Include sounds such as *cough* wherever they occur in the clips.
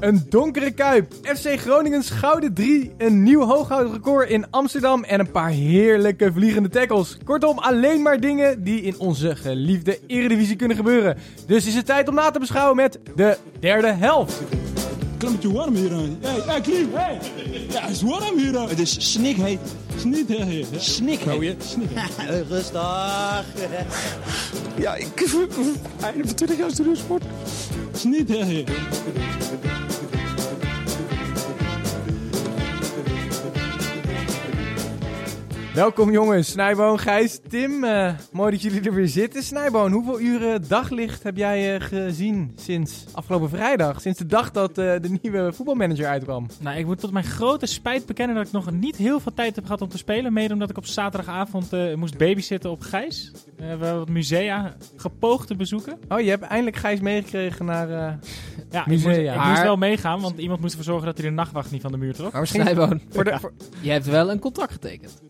Een donkere kuip, FC Groningens gouden 3, een nieuw hooghoudrecord in Amsterdam en een paar heerlijke vliegende tackles. Kortom, alleen maar dingen die in onze geliefde Eredivisie kunnen gebeuren. Dus is het tijd om na te beschouwen met de derde helft. Klimmetje warm hier aan. Hey, hey, Klim. Hey. Ja, het is warm hier aan. Het is snikheet. Snikheet. Oh, Snikheet. Rustig. Ja, ik... *laughs* Einde van 20 jaar studeersport. Snikheet. Welkom jongens, Snijboon, Gijs, Tim. Eh, mooi dat jullie er weer zitten. Snijboon, hoeveel uren daglicht heb jij eh, gezien sinds afgelopen vrijdag? Sinds de dag dat eh, de nieuwe voetbalmanager uitkwam? Nou, ik moet tot mijn grote spijt bekennen dat ik nog niet heel veel tijd heb gehad om te spelen. Mede omdat ik op zaterdagavond eh, moest babysitten op Gijs. Eh, we hebben wat musea gepoogd te bezoeken. Oh, je hebt eindelijk Gijs meegekregen naar... eh, Ja, Ah, ik Musea. moest, ik moest Maar- wel meegaan, want iemand moest ervoor zorgen dat hij de nachtwacht niet van de muur trok. Maar Snijboon, voor de, voor- je hebt wel een contract getekend.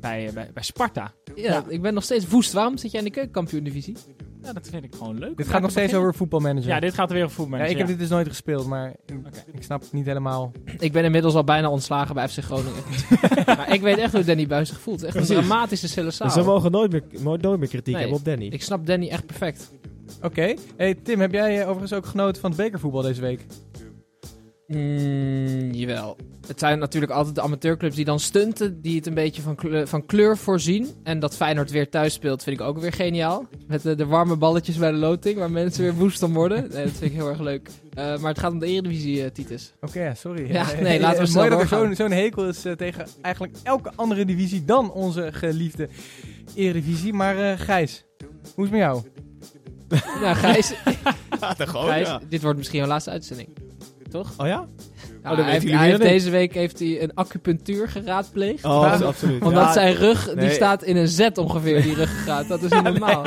Bij, eh, bij, bij Sparta. Ja, ik ben nog steeds woest. Waarom zit jij in de keukenkampioen-divisie? Ja, dat vind ik gewoon leuk. dit om gaat daar nog te steeds beginnen. over voetbalmanager. Ja, dit gaat er weer over voetbal. Ja, ik heb dit dus nooit gespeeld, maar ik, ik snap het niet helemaal. Ik ben inmiddels al bijna ontslagen bij FC Groningen. *laughs* maar ik weet echt hoe Danny Buis zich voelt. Echt een dramatische Nou. Dus Ze cellensaal. mogen nooit meer, mo- nooit meer kritiek Nee, hebben op Danny. Ik snap Danny echt perfect. Oké. Hey, Tim, heb jij eh, overigens ook genoten van het bekervoetbal deze week? Mm, jawel. Het zijn natuurlijk altijd de amateurclubs die dan stunten, die het een beetje van kleur, van kleur voorzien. En dat Feyenoord weer thuis speelt, vind ik ook weer geniaal. Met eh, de, de warme balletjes bij de loting, waar mensen weer woest om worden. Nee, dat vind ik heel erg leuk. Eh, maar het gaat om de Eredivisie, eh, Titus. Oké, ja, sorry. *laughs* Ja, Eh, nee, eh, laten we eh, snel Mooi dat er doorgaan. zo'n zo'n hekel is eh, tegen eigenlijk elke andere divisie dan onze geliefde Eredivisie. Maar eh, Gijs, hoe is het met jou? Nou, Gijs, Gijs, *laughs* ja. dit wordt misschien jouw laatste uitzending. Oh ja? Nou, weten hij heeft, jullie hij weer heeft niet. deze week heeft hij een acupunctuur geraadpleegd. Oh, Waarom? absoluut. omdat Ja, zijn rug, die nee. staat in een Z ongeveer, die ruggengraat. Dat is niet normaal.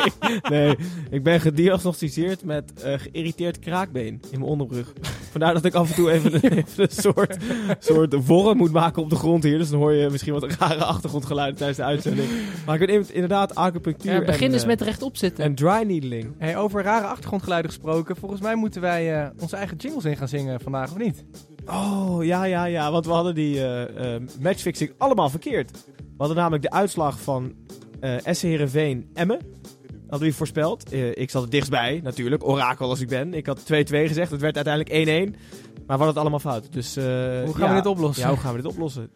Nee, ik ben gediagnosticeerd met eh, geïrriteerd kraakbeen in mijn onderbrug. Vandaar dat ik af en toe even een, *laughs* even een soort, soort worm moet maken op de grond hier. Dus dan hoor je misschien wat rare achtergrondgeluiden tijdens de uitzending. Maar ik ben in- inderdaad acupunctuur Ja, begin en, eens eh, met rechtop zitten. en dry needling. Hey, over rare achtergrondgeluiden gesproken, volgens mij moeten wij eh, onze eigen jingles in gaan zingen vandaag, of niet? Oh, ja, ja, ja. Want we hadden die eh, eh, matchfixing allemaal verkeerd. We hadden namelijk de uitslag van eh SC Heerenveen Emmen. Hadden we voorspeld. Eh, ik zat er dichtstbij, natuurlijk. Orakel als ik ben. Ik had 2-2 gezegd. Het werd uiteindelijk 1-1. Maar we hadden het allemaal fout. Dus, eh, Hoe gaan ja. we dit oplossen? Ja, hoe gaan we dit oplossen?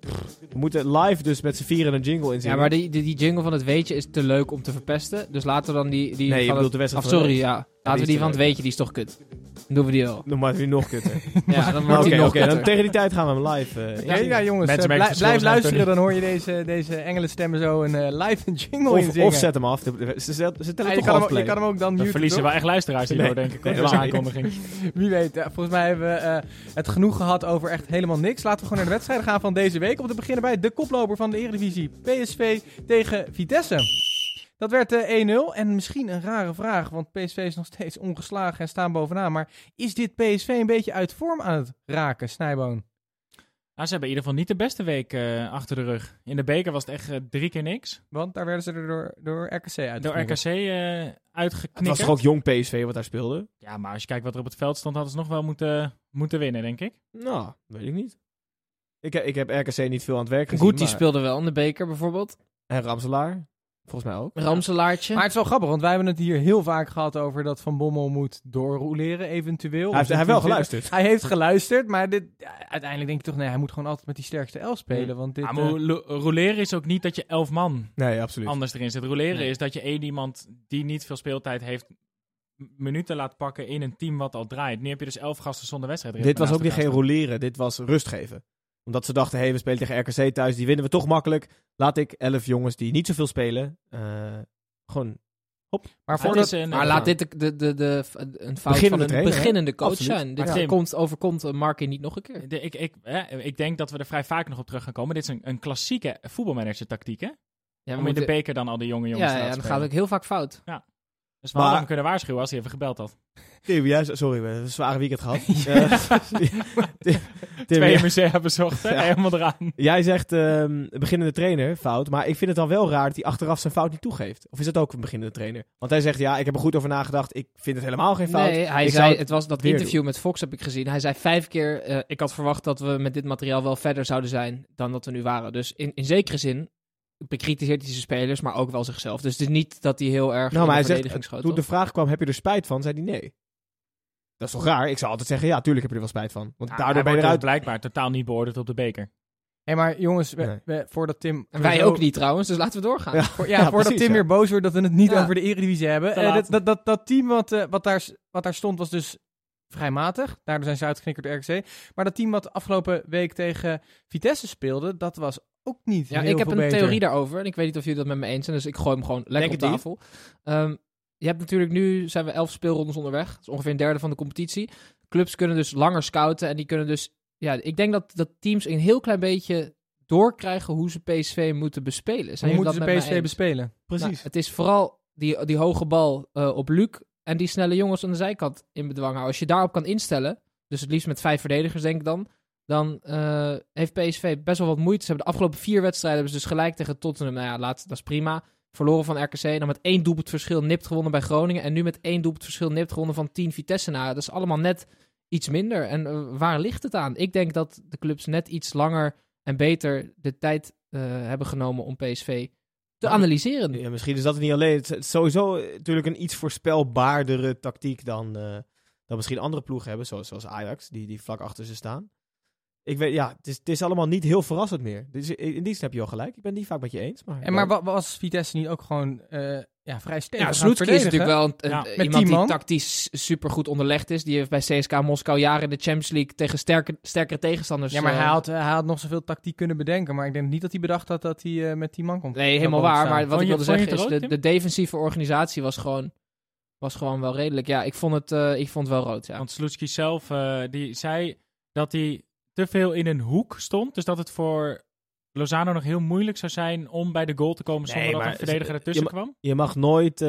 Pff, We moeten live dus met z'n vieren een jingle inzien. Ja, maar die, die, die jingle van het weetje is te leuk om te verpesten. Dus laten we dan die... die Nee, je van bedoelt de het, wedstrijd Of van de sorry, week. ja. die Laten is we die te van het leuk. week, die is toch kut. Dan doen we die al. Dan maakt het weer nog kutter. *laughs* Ja, *laughs* dan Maar wordt Oké, die nog oké, dan kutter. tegen die tijd gaan we hem live. eh, Oké, inzingen. nou jongens, Mensen eh, merken blij- verschil, blijf zijn luisteren, dan hoor je deze, deze engelensstemmen zo een eh, live jingle of, inzingen. of zet hem af. Ze, ze, ze Ah, tellen je, toch kan hem, half ook- je kan hem ook dan Dan muten, verliezen toch? we echt luisteraars hierdoor, Nee. denk *laughs* ik. Nee, dat is een maar- aankondiging. Wie weet, eh, volgens mij hebben we eh, het genoeg gehad over echt helemaal niks. Laten we gewoon naar de wedstrijden gaan van deze week. Om te beginnen bij de koploper van de Eredivisie, PSV tegen Vitesse. Dat werd eh, 1-0 en misschien een rare vraag, want PSV is nog steeds ongeslagen en staan bovenaan. Maar is dit PSV een beetje uit vorm aan het raken, Snijboon? Nou, ze hebben in ieder geval niet de beste week eh, achter de rug. In de beker was het echt eh, drie keer niks. Want daar werden ze er door, door RKC uit. Door RKC eh Het was uitgeknikkerd. toch ook jong PSV wat daar speelde? Ja, maar als je kijkt wat er op het veld stond, hadden ze nog wel moeten, moeten winnen, denk ik. Nou, weet ik niet. Ik, he- ik heb RKC niet veel aan het werk gezien. Goed, die maar- speelde wel in de beker bijvoorbeeld. En Ramselaar, volgens mij ook. Ramselaartje. Maar het is wel grappig, want wij hebben het hier heel vaak gehad over dat Van Bommel moet doorrouleren, eventueel. Hij heeft, hij heeft wel geluisterd. Hij heeft geluisterd, maar dit, ja, uiteindelijk denk ik toch, nee, hij moet gewoon altijd met die sterkste elf spelen. Want dit, Ah, Ja, eh, Ah, maar lo- roleren is ook niet dat je elf man *laughs* Nee, absoluut. anders erin zit. Roleren Nee. is dat je één iemand die niet veel speeltijd heeft, m- minuten laat pakken in een team wat al draait. Nu heb je dus elf gasten zonder wedstrijd. dit was ook niet geen roleren, dit was rust geven. Omdat ze dachten, hé, hey, we spelen tegen RKC thuis, die winnen we toch makkelijk. Laat ik elf jongens die niet zoveel spelen, eh, gewoon, Hop. Maar Het voordat... is een- maar laat dit de, de, de, de, een fout Beginnende van een trainer, hè? beginnende coach Absoluut. zijn. Dit Maar Tim- komt, overkomt eh, Markie niet nog een keer. De- ik, ik, hè, ik denk dat we er vrij vaak nog op terug gaan komen. Dit is een, een klassieke voetbalmanager tactiek, hè? Ja, Om we in de moeten- beker dan al de jonge jongens ja, te ja, laten dat spelen. gaat ook heel vaak fout. Dus we hadden Maar- hem kunnen waarschuwen als hij even gebeld had. Tim, jij, sorry, we hebben een zware weekend *laughs* gehad. Eh, Tim, Tim, Twee jij- musea bezocht, hè? *laughs* Ja. helemaal eraan. jij zegt ehm, beginnende trainer, fout. Maar ik vind het dan wel raar dat hij achteraf zijn fout niet toegeeft. Of is dat ook een beginnende trainer? Want hij zegt, ja, ik heb er goed over nagedacht. Ik vind het helemaal geen fout. Nee, hij Ik zei, zou- het was dat weer interview met Fox heb ik gezien. Hij zei vijf keer, eh, ik had verwacht dat we met dit materiaal wel verder zouden zijn dan dat we nu waren. Dus in, in zekere zin bekritiseert hij zijn spelers, maar ook wel zichzelf. Dus het is niet dat hij heel erg Nou, maar in hij de zegt, verdediging schoot. toen de toch? vraag kwam, heb je er spijt van? Zei hij nee. Dat is toch raar? Ik zou altijd zeggen, ja, tuurlijk heb je er wel spijt van. Want daardoor hij ben je wordt eruit. dus blijkbaar totaal niet beoordeeld op de beker. Hé, maar jongens, we, Nee. we- voordat Tim... En wij zo- ook niet trouwens, dus laten we doorgaan. Ja. Voor- ja, Ja, voordat precies, Tim ja. weer boos wordt dat we het niet Ja. over de Eredivisie hebben. Te Eh, laat. dat, dat, dat, dat team wat, eh, wat, daar, s- wat daar stond was dus vrij matig. Daardoor zijn ze uitgeknikkerd door RKC. Maar dat team wat afgelopen week tegen Vitesse speelde, dat was ook niet Ja, heel ik heb veel een beter. theorie daarover. En ik weet niet of jullie dat met me eens zijn. Dus ik gooi hem gewoon lekker Denk op het tafel. Ehm, je hebt natuurlijk nu, zijn we elf speelrondes onderweg. Dat is ongeveer een derde van de competitie. Clubs kunnen dus langer scouten. En die kunnen dus... Ja, ik denk dat, dat teams een heel klein beetje doorkrijgen hoe ze PSV moeten bespelen. Hoe Zijn jullie moeten ze dat met mij PSV eens? bespelen? Nou, het is vooral die, die hoge bal eh, op Luc en die snelle jongens aan de zijkant in bedwang houden. Als je daarop kan instellen, dus het liefst met vijf verdedigers denk ik dan, dan eh, heeft PSV best wel wat moeite. Ze hebben de afgelopen vier wedstrijden hebben ze dus gelijk tegen Tottenham. Nou ja, laatst, dat is prima. Verloren van RKC, en dan met één doelpunt verschil nipt gewonnen bij Groningen. En nu met één doelpunt verschil nipt gewonnen van 10 Vitesse. Nou, dat is allemaal net iets minder. En eh, waar ligt het aan? Ik denk dat de clubs net iets langer en beter de tijd eh, hebben genomen om PSV te Nou, analyseren. Ja, misschien is dat het niet alleen. Het is sowieso eh, natuurlijk een iets voorspelbaardere tactiek dan, eh, dan misschien andere ploegen hebben, zoals, zoals Ajax, die, die vlak achter ze staan. Ik weet, ja, het is, het is allemaal niet heel verrassend meer. Dus in in die zin heb je wel gelijk. Ik ben het niet vaak met je eens. Maar, En maar wa- was Vitesse niet ook gewoon eh, ja, vrij stevig Ja, aan het Sloetski is verdedigen? natuurlijk wel een, een- Ja, met iemand tien die man. tactisch supergoed onderlegd is. Die heeft bij CSK Moskou jaren in de Champions League tegen sterke, sterkere tegenstanders... Ja, maar eh, hij had, hij had nog zoveel tactiek kunnen bedenken. Maar ik denk niet dat hij bedacht had dat hij eh, met die man komt. Nee, helemaal Zou waar. staan. Maar wat Vond ik je- wilde vond je zeggen is, het de, rood, de defensieve organisatie was gewoon, was gewoon wel redelijk. Ja, ik vond het, eh, ik vond het wel rood, ja. Want Sloetski zelf eh, die zei dat hij te veel in een hoek stond. Dus dat het voor Lozano nog heel moeilijk zou zijn om bij de goal te komen zonder Nee, dat maar een verdediger ze- ertussen je kwam. Je mag nooit eh,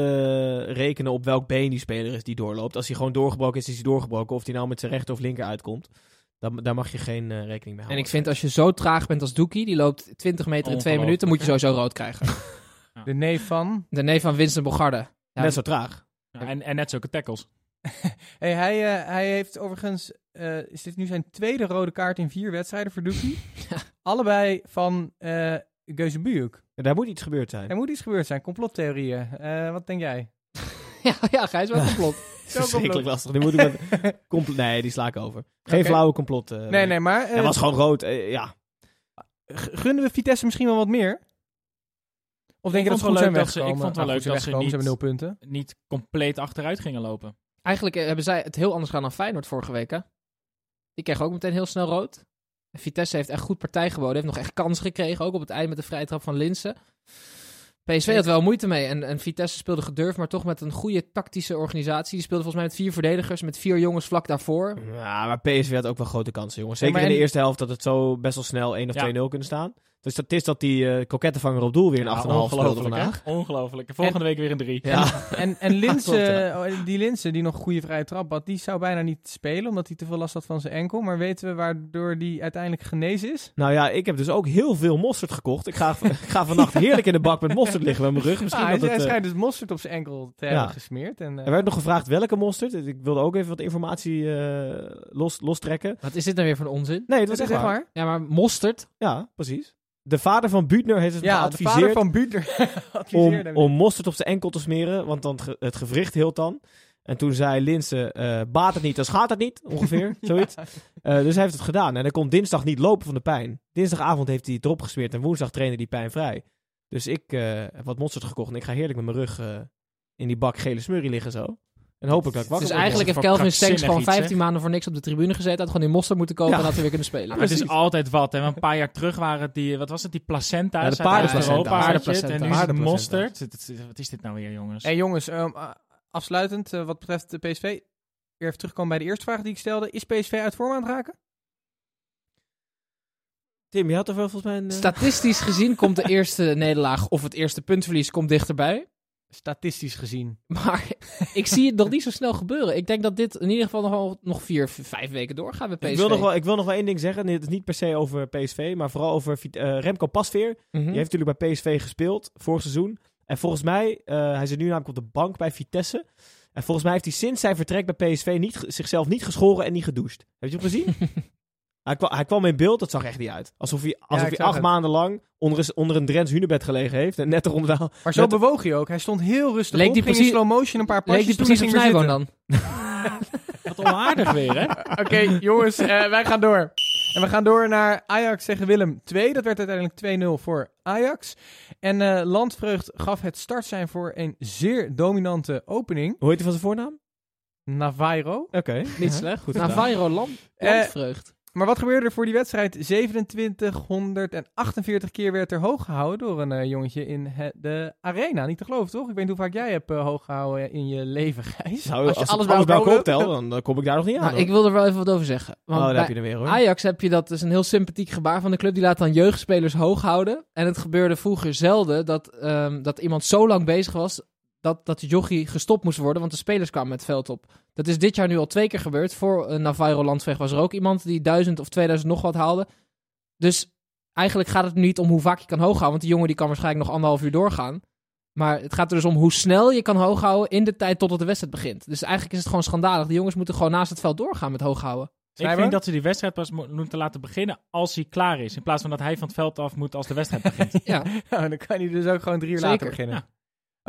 rekenen op welk been die speler is die doorloopt. Als hij gewoon doorgebroken is, is hij doorgebroken. Of hij nou met zijn rechter of linker uitkomt. Dan, daar mag je geen eh, rekening mee En houden. ik vind als je zo traag bent als Doekie, die loopt 20 meter in twee Ongelooflijk, minuten, moet je hè? sowieso rood krijgen. De neef van... De neef van Winston Bogarde. Ja, Net zo traag. Ja, en, en net zulke tackles. Hey, hij, eh, hij heeft overigens... eh, is dit nu zijn tweede rode kaart in vier wedstrijden voor *laughs* Doekie? Allebei van eh Geuze Bujuk. En daar moet iets gebeurd zijn. Er moet iets gebeurd zijn. Complottheorieën. Eh, wat denk jij? ja, ja Gijs, wat *laughs* een *laughs* plot. Het is verschrikkelijk lastig. Nu moet ik met- *laughs* compl- nee, die sla ik over. Geen Oké. flauwe complot. eh, Nee, nee, maar... eh, Hij was gewoon rood. eh, ja, g- gunnen we Vitesse misschien wel wat meer? Of denk je dat vond ze wel goed zijn leuk dat ze- weggekomen? ik vond het wel Nou, leuk goed, dat ze weggekomen, niet- hebben nul punten. Niet compleet achteruit gingen lopen. Eigenlijk eh, hebben zij het heel anders gedaan dan Feyenoord vorige week. Hè? Die kreeg ook meteen heel snel rood. En Vitesse heeft echt goed partij geboden. Heeft nog echt kans gekregen. Ook op het eind met de vrije trap van Linsen. PSV had wel moeite mee. En, en Vitesse speelde gedurfd, maar toch met een goede tactische organisatie. Die speelde volgens mij met vier verdedigers, met vier jongens vlak daarvoor. Ja, maar PSV had ook wel grote kansen, jongens. Ja, Zeker maar in de en- eerste helft dat het zo best wel snel 1 of Ja. 2-0 kunnen staan. Dus dat is dat die eh kokettenvanger op doel weer een 8,5 speelde vandaag. hè? Ongelooflijk. Volgende week weer een drie. *laughs* Ja. En, en Linsen, Klopt, eh, die Linsen die nog goede vrije trap had, die zou bijna niet spelen omdat hij te veel last had van zijn enkel. Maar weten we waardoor die uiteindelijk genezen is? Nou ja, ik heb dus ook heel veel mosterd gekocht. Ik ga, *laughs* ik ga vannacht heerlijk in de bak met mosterd liggen met mijn rug. Misschien Ah, hij dat hij het, eh, schijnt dus mosterd op zijn enkel te hebben Ja. gesmeerd. En, eh, er werd nog gevraagd welke mosterd. Ik wilde ook even wat informatie eh, los, lostrekken. Wat is dit nou weer voor een onzin? Nee, dat dat is is echt echt waar. waar. Ja, maar mosterd. Ja, precies. De vader van Buutner heeft het Ja, de geadviseerd... vader van Buter *laughs* om, om mosterd op zijn enkel te smeren, want dan het ge- het gewricht hield dan. En toen zei Linse, eh, baat het niet, dan schaadt het niet, ongeveer, zoiets. Eh, dus hij heeft het gedaan. En hij kon dinsdag niet lopen van de pijn. Dinsdagavond heeft hij het erop gesmeerd en woensdag trainde hij pijnvrij. Dus ik eh, heb wat mosterd gekocht en ik ga heerlijk met mijn rug eh, in die bak gele smurrie liggen zo. En hopelijk dat ik wakker Dus word. eigenlijk heeft wel Kelvin Stenks krankzinnig gewoon iets, hè? 15 maanden voor niks op de tribune gezeten. Had gewoon in Mosterd moeten komen Ja. en had hij weer kunnen Maar spelen. *laughs* het is altijd wat. Hè? Want een paar jaar terug waren het die, wat was het, die placenta's Ja, de uit paardenplacenta. Europa. had je het, Paardenplacenta. En nu is het Paardenplacenta. mosterd. Het- het- Wat is dit nou weer, *laughs* jongens? Hey jongens, ehm, a- afsluitend eh, wat betreft de PSV. Weer even terugkomen bij de eerste vraag die ik stelde. Is PSV uit vorm aan het raken? Tim, je had er wel volgens mij een... eh, Statistisch gezien komt de eerste nederlaag of het eerste puntverlies komt dichterbij. Statistisch gezien. *laughs* Maar ik zie het nog niet zo snel gebeuren. Ik denk dat dit in ieder geval nog, wel- nog vier, v- vijf weken doorgaat bij PSV. ik, wil nog wel, ik wil nog wel één ding zeggen. Nee, Het is niet per se over PSV, maar vooral over Vit- eh, Remco Pasveer. Mhm. Die heeft natuurlijk bij PSV gespeeld vorig seizoen. En volgens mij, eh, hij zit nu namelijk op de bank bij Vitesse. En volgens mij heeft hij sinds zijn vertrek bij PSV niet, ge- zichzelf niet geschoren en niet gedoucht. Heb je hem gezien? hij, kwam, hij kwam in beeld, dat zag er echt niet uit. Alsof hij, alsof ik hij zag acht het. maanden lang onder, een- onder een Drents hunebed gelegen heeft. En net eronder de, Maar zo Met- bewoog hij ook. Hij stond heel rustig Leek op, die ging precies- in slow motion een paar pasjes. Leek die toen precies op ging hij weer Snijboon dan? Wat onaardig weer, hè? zitten. Oké, jongens, eh, wij gaan door. En we gaan door naar Ajax tegen Willem 2. Dat werd uiteindelijk 2-0 voor Ajax. En eh, Landvreugd gaf het startsein voor een zeer dominante opening. Hoe heet hij van zijn voornaam? Navairo. Oké. Niet slecht. Goed gedaan. Navajo Land, Eh, Landvreugd. Maar wat gebeurde er voor die wedstrijd? 2748 keer werd er hoog gehouden door een eh, jongetje in he- de arena. Niet te geloven, toch? Ik weet niet hoe vaak jij hebt eh, hoog gehouden in je leven, Gijs. Nou, Als als je je alles bij alles, bij elkaar elkaar optelt, dan, dan kom ik daar nog niet aan. nou, hoor. ik wil er wel even wat over zeggen. Want oh, daar bij- heb je er weer hoor. Ajax heb je dat, is een heel sympathiek gebaar van de club. Die laat dan jeugdspelers hoog houden. En het gebeurde vroeger zelden dat, ehm, dat iemand zo lang bezig was dat, dat de jochie gestopt moest worden, want de spelers kwamen het veld op. Dat is dit jaar nu al twee keer gebeurd. Voor uh, Navarro Landweg was er ook iemand die 1000 of 2000 nog wat haalde. Dus eigenlijk gaat het niet om hoe vaak je kan hooghouden, want die jongen die kan waarschijnlijk nog anderhalf uur doorgaan. Maar het gaat er dus om hoe snel je kan hooghouden in de tijd totdat de wedstrijd begint. Dus eigenlijk is het gewoon schandalig. Die jongens moeten gewoon naast het veld doorgaan met hooghouden. Ik Snijboon? vind dat ze die wedstrijd pas mo- moeten laten beginnen als hij klaar is. In plaats van dat hij van het veld af moet als de wedstrijd begint. Ja. *laughs* Nou, dan kan hij dus ook gewoon drie uur later Zeker, beginnen. ja.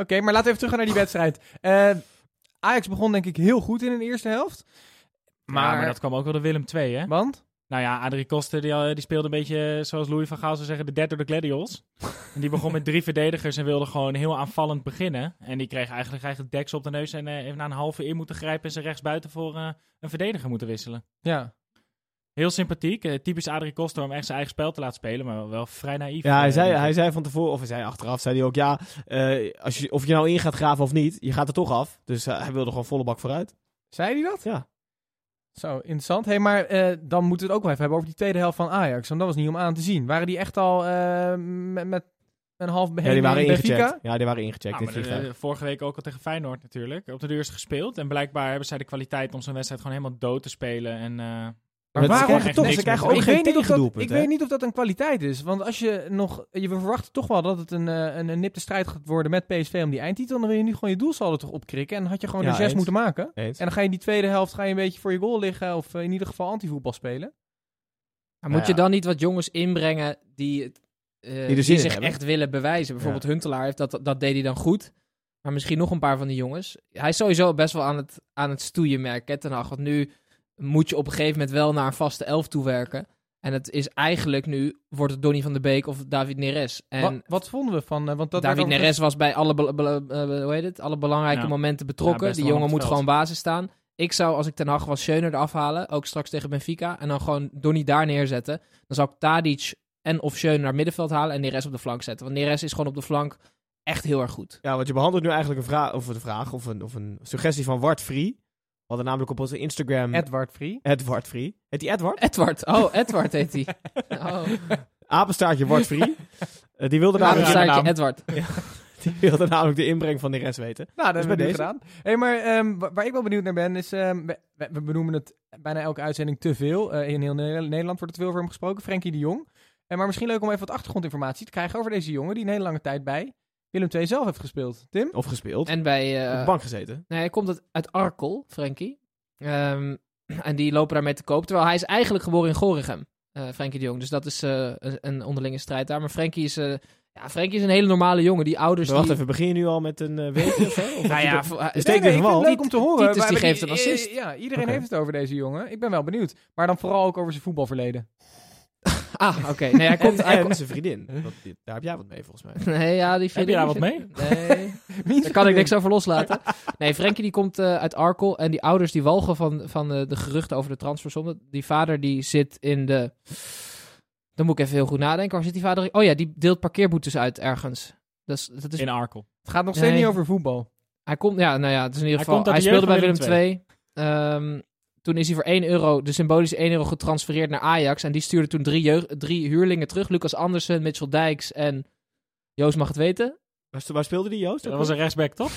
Oké, maar laten we even terug gaan naar die wedstrijd. Eh, Ajax begon denk ik heel goed in de eerste helft. maar, Maar, maar dat kwam ook wel de Willem 2, hè? want? Nou ja, Adrie Koster die, eh, die speelde een beetje, eh, zoals Louis van Gaal zou zeggen, de dead door de gladiols. *laughs* En die begon met drie verdedigers en wilde gewoon heel aanvallend beginnen. En die kreeg eigenlijk eigenlijk deks op de neus en eh, even na een halve eer moeten grijpen en ze rechtsbuiten voor eh, een verdediger moeten wisselen. Ja. Heel sympathiek. eh, typisch Adrie Koster om echt zijn eigen spel te laten spelen, maar wel vrij naïef. Ja, hij eh, zei, denk ik. hij zei van tevoren, of hij zei achteraf, zei hij ook, ja, eh, als je, of je nou in gaat graven of niet, je gaat er toch af. Dus eh, hij wilde gewoon volle bak vooruit. Zei hij dat? Ja. Zo, interessant. hey, maar eh, dan moeten we het ook wel even hebben over die tweede helft van Ajax. Want dat was niet om aan te zien. Waren die echt al eh, met, met een half Ja, die waren Benfica? ingecheckt. Ja, die waren ingecheckt Ah, in maar het de- vliegtuig. eh, vorige week ook al tegen Feyenoord natuurlijk. Op de deur is gespeeld. En blijkbaar hebben zij de kwaliteit om zo'n wedstrijd gewoon helemaal dood te spelen. En eh, Maar ze waarom krijgen echt toch, niks ze meer krijgen te ook doen. Ik geen weet, niet of dat, tegendoelpunt, ik hè? weet niet of dat een kwaliteit is. Want als je nog. Je verwacht toch wel dat het een, eh, een, een nipte strijd gaat worden met PSV om die eindtitel. Dan wil je nu gewoon je doelsaldo toch opkrikken. En had je gewoon Ja, de zes eens. moeten maken. Eens. En dan ga je in die tweede helft ga je een beetje voor je goal liggen. Of eh, in ieder geval antivoetbal spelen. Maar Nou moet je ja. dan niet wat jongens inbrengen die, het, eh, die, zin in zich hebben? echt willen bewijzen? Bijvoorbeeld Huntelaar, heeft dat, dat deed hij dan goed. Maar misschien nog een paar van die jongens. Hij is sowieso best wel aan het, aan het stoeien, merk ik, Ten Hag. Want nu moet je op een gegeven moment wel naar een vaste elf toewerken. En het is eigenlijk nu, wordt het Donny van der Beek of David Neres. En wat, wat vonden we van. eh, want dat David werd ook- Neres was bij alle, bela- bela- eh, hoe heet het? alle belangrijke Ja. momenten Ja, betrokken. best die wel jongen op het moet veld. gewoon basis staan. Ik zou, als ik Ten Hag was, Schöner eraf halen. Ook straks tegen Benfica. En dan gewoon Donny daar neerzetten. Dan zou ik Tadic en of Schöner naar middenveld halen. En Neres op de flank zetten. Want Neres is gewoon op de flank echt heel erg goed. Ja, want je behandelt nu eigenlijk een vraag, of een, vraag, of een, of een suggestie van Wart Free. We hadden namelijk op onze Instagram... Edward Free. Edward Free. Heet die *laughs* Edward? Edward. Oh, Edward heet *laughs* hij. Oh, Apenstaartje *laughs* Wart Free. Eh, die, wilde daarom namelijk, zei ik je *laughs* naam. Edward. die wilde namelijk de inbreng van de rest weten. Nou, dat Dus hebben we nu bij gedaan. Hey, maar ehm, wa- waar ik wel benieuwd naar ben, is... ehm, we, we- we benoemen het bijna elke uitzending te veel. Eh, in heel Ne- Nederland wordt het veel over hem gesproken. Frenkie de Jong. Eh, maar misschien leuk om even wat achtergrondinformatie te krijgen over deze jongen... die een hele lange tijd bij Willem II zelf heeft gespeeld. Tim? Of gespeeld. En bij... op de eh, bank gezeten. Nee, hij komt uit- uit Arkel, Frenkie. Ehm, *clears throat* en die lopen daarmee te koop. Terwijl hij is eigenlijk geboren in Gorinchem, eh Frenkie de Jong. Dus dat is eh, een, een onderlinge strijd daar. Maar Frenkie is, eh, ja, Frenkie is een hele normale jongen. Die ouders... Maar wacht die, even, begin je nu al met een eh, weetje of zo? Of Nou wat ja, je- voor- hij- Is dit- Steek ik weer van vind het wal. leuk om te horen. Titus, Waar- die waar- geeft een assist. eh, Ja, iedereen Oké. heeft het over deze jongen. Ik ben wel benieuwd. Maar dan vooral ook over zijn voetbalverleden. Ah, oké. Nee, *laughs* hij *laughs* komt... en, Hij en komt zijn vriendin. Want die- daar heb jij wat mee, volgens *laughs* mij. nee, ja, die Heb vind je ik- daar wat mee? Nee. *laughs* Daar kan ik niks *laughs* over loslaten. Nee, Frenkie die komt eh, uit Arkel. En die ouders die walgen van, van eh, de geruchten over de transfersom. Die vader die zit in de... Dan moet ik even heel goed nadenken. Waar zit die vader? in? Oh ja, die deelt parkeerboetes uit ergens. Dat is, dat is, In Arkel. Het gaat nog steeds Nee. niet over voetbal. hij komt, ja, nou ja, het is in ieder Hij geval. komt uit Hij de speelde bij Willem jeugd van II. Ehm, toen is hij voor 1 euro, de symbolische 1 euro, getransfereerd naar Ajax. En die stuurde toen drie, jeugd, drie huurlingen terug. Lucas Andersen, Mitchell Dijks en Joost mag het weten. Waar, st- waar speelde die Joost? Dat ook was een weer? rechtsback, toch?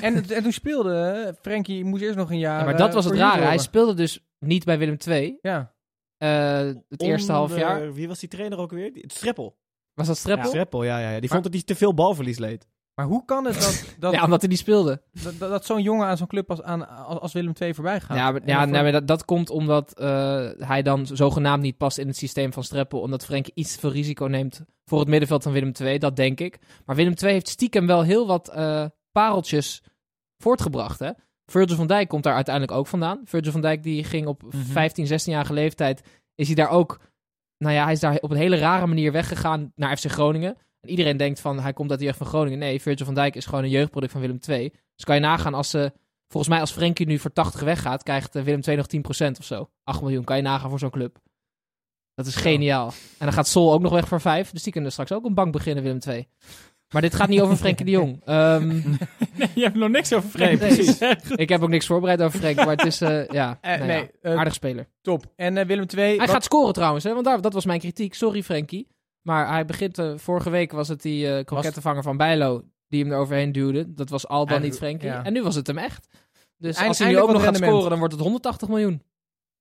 En, het- en toen speelde eh, Frenkie, moest eerst nog een jaar. Ja, maar dat eh, was het voor rare. Hij junioren. speelde dus niet bij Willem II. Ja. Eh, het eerste half Onder- jaar. Wie was die trainer ook weer? Die- Streppel. Was dat Streppel? Ja, Streppel, ja, ja. ja. Die vond dat hij te veel balverlies leed. Maar hoe kan het *laughs* dat, dat, omdat hij niet speelde. dat, dat, dat zo'n jongen aan zo'n club als, aan, als, als Willem II voorbij gaat? ja, maar, En ja, dan nee, maar dat, dat komt omdat eh, hij dan zogenaamd niet past in het systeem van Streppel. Omdat Frenk iets veel risico neemt voor het middenveld van Willem II. Dat denk ik. Maar Willem II heeft stiekem wel heel wat eh, pareltjes voortgebracht. Hè? Virgil van Dijk komt daar uiteindelijk ook vandaan. Virgil van Dijk die ging op 15, 16-jarige leeftijd. Is hij daar ook. Nou ja, hij is daar op een hele rare manier weggegaan naar FC Groningen. En iedereen denkt van hij komt uit de jeugd van Groningen. Nee, Virgil van Dijk is gewoon een jeugdproduct van Willem II. Dus kan je nagaan als ze. Volgens mij als Frenkie nu voor 80 weggaat, krijgt eh, Willem II nog 10% of zo. 8 miljoen, kan je nagaan voor zo'n club. Dat is geniaal. En dan gaat Sol ook nog weg voor 5. Dus die kunnen straks ook een bank beginnen, Willem II. Maar dit gaat niet over Frenkie de Jong. Ehm, Nee, *laughs* je hebt nog niks over Nee, Frenkie. *laughs* precies. gezegd. ik heb ook niks voorbereid over Frenkie, maar het is... *laughs* eh, ja, Eh, nou nee, ja, eh, aardig speler. top. En eh, Willem II... Hij wat- gaat scoren trouwens, hè, want daar, dat was mijn kritiek. Sorry Frenkie. Maar hij begint... eh, vorige week was het die eh krokettenvanger van Bijlo die hem eroverheen duwde. Dat was al dan Eind- niet Frenkie. ja. En nu was het hem echt. Dus Eind- als hij eindelijk nu ook nog wat gaat rendement. scoren, dan wordt het 180 miljoen.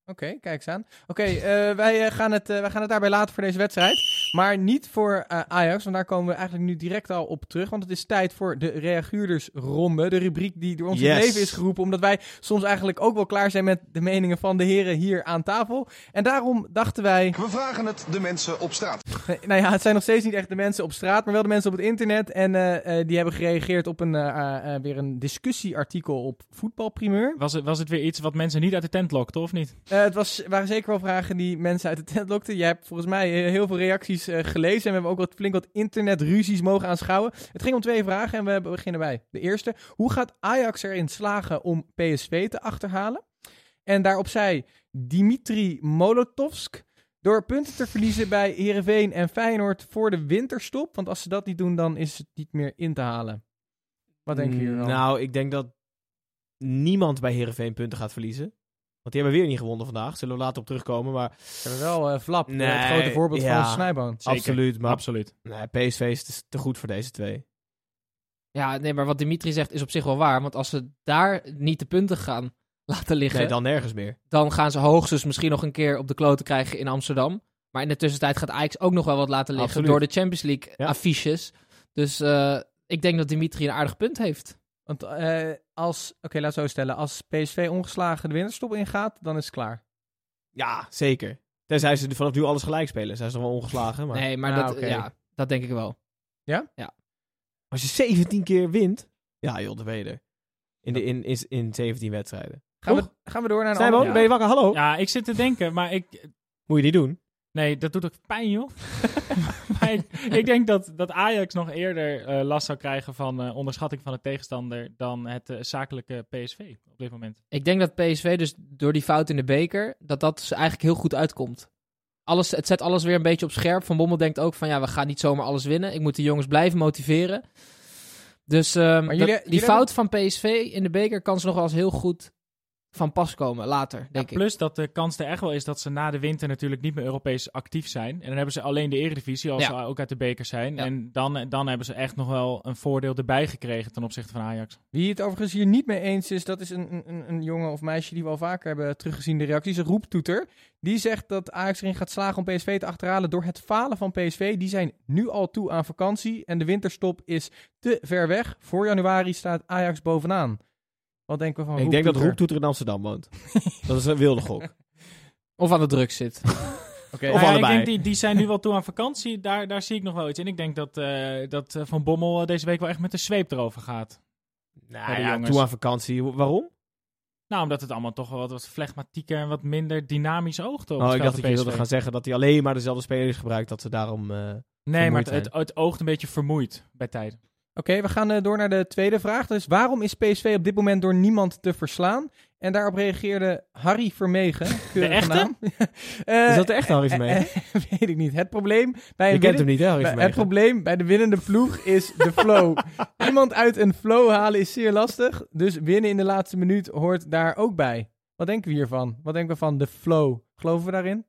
Oké, kijk eens aan. Oké, eh, wij, eh, gaan het, eh, wij gaan het daarbij laten voor deze wedstrijd. Maar niet voor eh, Ajax, want daar komen we eigenlijk nu direct al op terug. Want het is tijd voor de reaguurdersronde. De rubriek die door ons Yes. in leven is geroepen. Omdat wij soms eigenlijk ook wel klaar zijn met de meningen van de heren hier aan tafel. En daarom dachten wij... We vragen het de mensen op straat. Nee, *laughs* nou ja, het zijn nog steeds niet echt de mensen op straat, maar wel de mensen op het internet. En eh, eh, die hebben gereageerd op een, eh, eh, eh, weer een discussieartikel op voetbalprimeur. Was het, was het weer iets wat mensen niet uit de tent lokte, of niet? Eh, het was, waren zeker wel vragen die mensen uit de tent lokten. Jij hebt volgens mij eh, heel veel reacties eh, gelezen. En we hebben ook wat, flink wat internetruzies mogen aanschouwen. Het ging om twee vragen en we beginnen bij de eerste. Hoe gaat Ajax erin slagen om PSV te achterhalen? En daarop zei Dimitri Molotovsk... Door punten te verliezen bij Heerenveen en Feyenoord voor de winterstop. Want als ze dat niet doen, dan is het niet meer in te halen. Wat denken jullie hiervan? Nou, ik denk dat niemand bij Heerenveen punten gaat verliezen. Want die hebben weer niet gewonnen vandaag. Zullen we later op terugkomen. Maar Ze hebben wel eh, Flap, eh, het Nee, grote voorbeeld ja. van Snijboon. absoluut. Maar Absoluut. nee, PSV is te- te goed voor deze twee. Ja, nee, maar wat Dimitri zegt is op zich wel waar. Want als ze daar niet de punten gaan laten liggen, Nee, dan... dan nergens meer. gaan ze hoogstens misschien nog een keer op de kloten krijgen in Amsterdam. Maar in de tussentijd gaat Ajax ook nog wel wat laten liggen Absoluut. door de Champions League Ja. affiches. Dus eh, ik denk dat Dimitri een aardig punt heeft. Want eh, als, oké, laat het zo stellen. Als PSV ongeslagen de winterstop ingaat, dan is het klaar. Ja, zeker. Tenzij ze vanaf nu alles gelijk spelen. Zijn ze nog wel ongeslagen. Maar Nee, maar Ah, dat, oké. ja, dat denk ik wel. als je 17 keer wint. Ja, joh, dan ben je er. In, de, in, in, in 17 wedstrijden. Gaan, Toch? we, gaan we door naar een Snijboon, andere? ben je wakker? Hallo? Ja, ik zit te denken, maar ik, Moet je die doen? Nee, dat doet ook pijn, joh. *laughs* Maar ik, ik denk dat, dat Ajax nog eerder eh, last zou krijgen van eh, onderschatting van de tegenstander dan het eh, zakelijke PSV op dit moment. Ik denk dat PSV dus door die fout in de beker, dat dat ze eigenlijk heel goed uitkomt. Alles, het zet alles weer een beetje op scherp. Van Bommel denkt ook van ja, we gaan niet zomaar alles winnen. Ik moet de jongens blijven motiveren. Dus ehm, dat- jullie- die jullie fout van PSV in de beker kan ze nog wel eens heel goed van pas komen later, Ja, denk ik. plus dat de kans er echt wel is dat ze na de winter natuurlijk niet meer Europees actief zijn. En dan hebben ze alleen de Eredivisie, als Ja. ze ook uit de beker zijn. Ja. En dan, dan hebben ze echt nog wel een voordeel erbij gekregen ten opzichte van Ajax. Wie het overigens hier niet mee eens is, dat is een, een- een, een jongen of meisje die we al vaker hebben teruggezien in de reacties. Een roeptoeter. Die zegt dat Ajax erin gaat slagen om PSV te achterhalen door het falen van PSV. Die zijn nu al toe aan vakantie en de winterstop is te ver weg. Voor januari staat Ajax bovenaan. Wat denken we van Ik denk dat roeptoeter? Roeptoeter in Amsterdam *laughs* woont. dat is een wilde gok. Of aan de drugs zit. Oké. Nou Of ja, allebei. Ik denk, die, die zijn nu wel toe aan vakantie. Daar, daar zie ik nog wel iets in. Ik denk dat, eh, dat eh, Van Bommel eh, deze week wel echt met de zweep erover gaat. Nou de ja, jongens. Oh, toe aan vakantie. Wa- Waarom? Nou, omdat het allemaal toch wel wat, wat flegmatieker en wat minder dynamisch oogt op Oh, het ik veld dacht dat van je PSV. wilde gaan zeggen dat hij alleen maar dezelfde spelers gebruikt. Dat ze daarom... eh, Nee, maar vermoeid het, het, het oogt een beetje vermoeid bij tijden. Oké, we gaan eh, door naar de tweede vraag. Dus waarom is PSV op dit moment door niemand te verslaan? En daarop reageerde Harry Vermegen. keurige echte? naam. *laughs* *laughs* Eh, is dat de echte Harry van eh, eh, *laughs* weet ik niet. Het probleem bij Je een kent winnen- hem niet, hè, Harry bij- van het probleem bij de winnende ploeg is de *laughs* flow. Iemand uit een flow halen is zeer lastig. Dus winnen in de laatste minuut hoort daar ook bij. Wat denken we hiervan? Wat denken we van de flow? Geloven we daarin?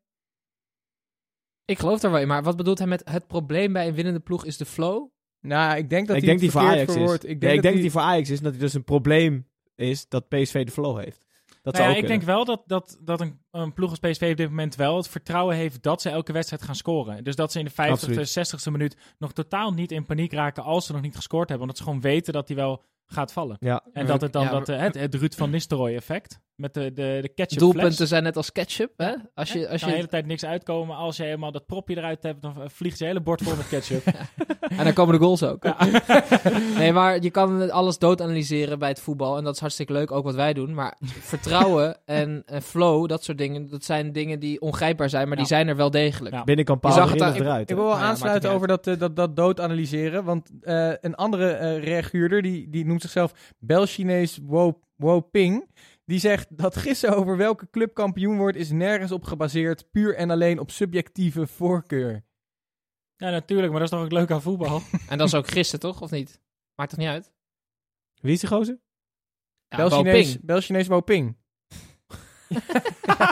Ik geloof daar wel in, maar wat bedoelt hij met het probleem bij een winnende ploeg is de flow? Nou, ik denk dat Ik hij denk het die voor verkeerd Ajax is. verwoordt. Nee, Ik denk, dat, die... voor Ajax is en dat het dus een probleem is dat PSV de flow heeft. Dat Nou zou ja, ook ik denk kunnen. wel dat, dat, dat een, een ploeg als PSV op dit moment wel het vertrouwen heeft dat ze elke wedstrijd gaan scoren. Dus dat ze in de 50ste, Absoluut. 60ste minuut nog totaal niet in paniek raken als ze nog niet gescoord hebben. Omdat ze gewoon weten dat die wel gaat vallen. Ja, En dat het dan Ja, dat, eh, het, het Ruud van Nistelrooy effect met de, de, de ketchup Doelpunten fles. zijn net als ketchup, hè? Als je, Hè? als Kan de hele je, tijd niks uitkomen. Als je helemaal dat propje eruit hebt, dan eh, vliegt je hele bord vol met ketchup. *laughs* ja, en dan komen de goals ook. *laughs* *laughs* nee, maar je kan alles dood analyseren bij het voetbal. En dat is hartstikke leuk, ook wat wij doen. *laughs* Maar vertrouwen en, eh, flow, dat soort dingen, dat zijn dingen die ongrijpbaar zijn, maar die Ja. zijn er wel degelijk. Ja. binnen kan Paal Je zag erin het of daar- eruit. Ik hè? wil wel Nou ja, maakt aansluiten niet over dat, eh, dat, dat dood analyseren. Want eh, een andere eh reaguurder, die, die noemt zichzelf Bel-Chinees Wo, Wo Ping. Die zegt dat gissen over welke club kampioen wordt is nergens op gebaseerd. Puur en alleen op subjectieve voorkeur. natuurlijk. Maar dat is toch ook leuk aan voetbal? En dat is ook gisteren, toch? Of niet? Maakt toch niet uit? Wie is die gozer? Ja, Bel-Chinees Baoping. Bel-Chinees Wo *laughs* *laughs* Ping.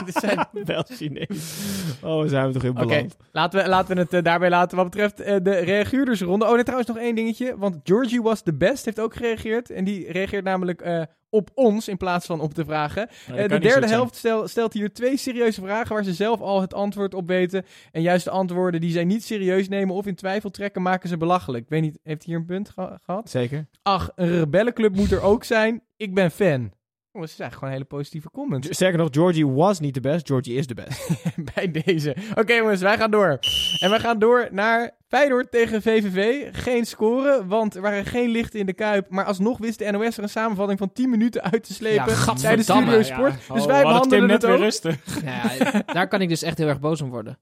Dit zijn- *laughs* Wel Chinees. Oh, we zijn we toch in beland. Laten we, laten we het eh, daarbij laten wat betreft eh, de reaguurdersronde. Oh, nee, trouwens nog één dingetje. Want Georgie was the best, heeft ook gereageerd. En die reageert namelijk eh, op ons in plaats van op de vragen. Nou, Eh, de derde helft stel- stelt hier twee serieuze vragen waar ze zelf al het antwoord op weten. En juist de antwoorden die zij niet serieus nemen of in twijfel trekken, maken ze belachelijk. Ik weet niet, heeft hij hier een punt geha- gehad? Zeker. Ach, een rebellenclub moet er ook zijn. Ik ben fan. Oh, dat is eigenlijk gewoon een hele positieve comment Dus- Sterker nog, Georgie was niet de best. Georgie is de best. *laughs* bij deze. Oké jongens, wij gaan door. En wij gaan door naar Feyenoord tegen VVV. Geen scoren, want er waren geen lichten in de Kuip. Maar alsnog wist de NOS er een samenvatting van 10 minuten uit te slepen Ja, Oh, tijdens Studio gadverdamme, Sport. Dus wij behandelen net het weer ook. rustig. Ja, daar kan ik dus echt heel erg boos om worden.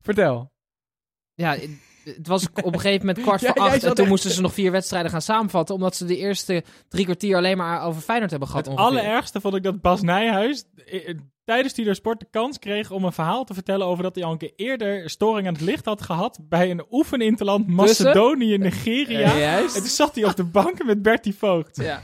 Vertel. Ja, het- het was op een gegeven moment *laughs* kwart Ja, voor jij acht. zat En toen echt- moesten ze nog vier wedstrijden gaan samenvatten. Omdat ze de eerste drie kwartier alleen maar over Feyenoord hebben gehad. Het ongeveer. allerergste vond ik dat Bas Nijhuis eh, eh, tijdens Studio Sport de kans kreeg om een verhaal te vertellen over dat hij al een keer eerder storing aan het licht had gehad bij een oefeninterland Macedonië, Nigeria. Ja, En toen juist. zat hij op de bank met Bertie Voogd. Ja.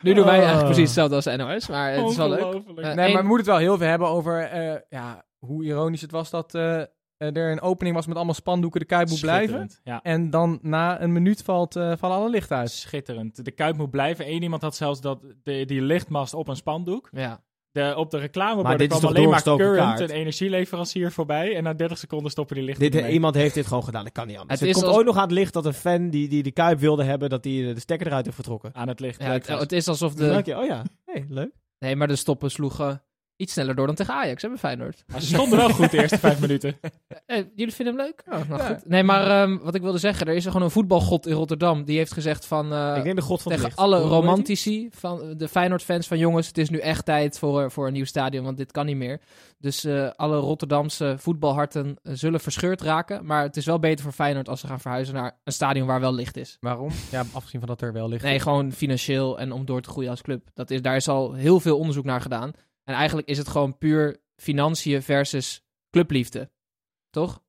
Nu doen wij eigenlijk Oh. precies hetzelfde als de NOS. Maar het is wel leuk. Ongelooflijk. Eh, Nee, één- maar we moeten het wel heel veel hebben over eh, ja, hoe ironisch het was dat eh, eh, er een opening was met allemaal spandoeken. De Kuip moet blijven. Schitterend, Ja. En dan na een minuut valt, eh, vallen alle lichten uit. Schitterend. De Kuip moet blijven. Eén iemand had zelfs dat, de, die lichtmast op een spandoek. Ja. De, op de Maar reclameborden dit is kwam toch alleen maar doorgestoken Current, kaart? een energieleverancier, voorbij. En na 30 seconden stoppen die lichten Dit, eh, ermee. iemand heeft dit gewoon gedaan. Dat kan niet anders. Het Het, is komt als- ook nog aan het licht dat een fan die, die de Kuip wilde hebben, dat die eh, de stekker eruit heeft getrokken. aan het licht. Ja, Leuk het, vast. het is alsof Dus dank de... je. Oh ja, hey, leuk. Nee, maar de stoppen sloegen iets sneller door dan tegen Ajax. Hebben Feyenoord. Maar ze stonden wel goed de eerste vijf minuten. Eh, jullie vinden hem leuk? Oh, nou Ja. goed. Nee, maar ehm, wat ik wilde zeggen. Er is gewoon een voetbalgod in Rotterdam. Die heeft gezegd van... eh, ik denk de god van het tegen licht. alle Hoe- hoe heet die? romantici van eh, de Feyenoord-fans van jongens, het is nu echt tijd voor, eh, voor een nieuw stadion, want dit kan niet meer. Dus eh, alle Rotterdamse voetbalharten eh, zullen verscheurd raken, maar het is wel beter voor Feyenoord als ze gaan verhuizen naar een stadion waar wel licht is. Waarom? Ja, afgezien van dat er wel licht Nee, gewoon financieel en om door te groeien als club. Dat is, daar is al heel veel onderzoek naar gedaan. En eigenlijk is het gewoon puur financiën versus clubliefde. Toch?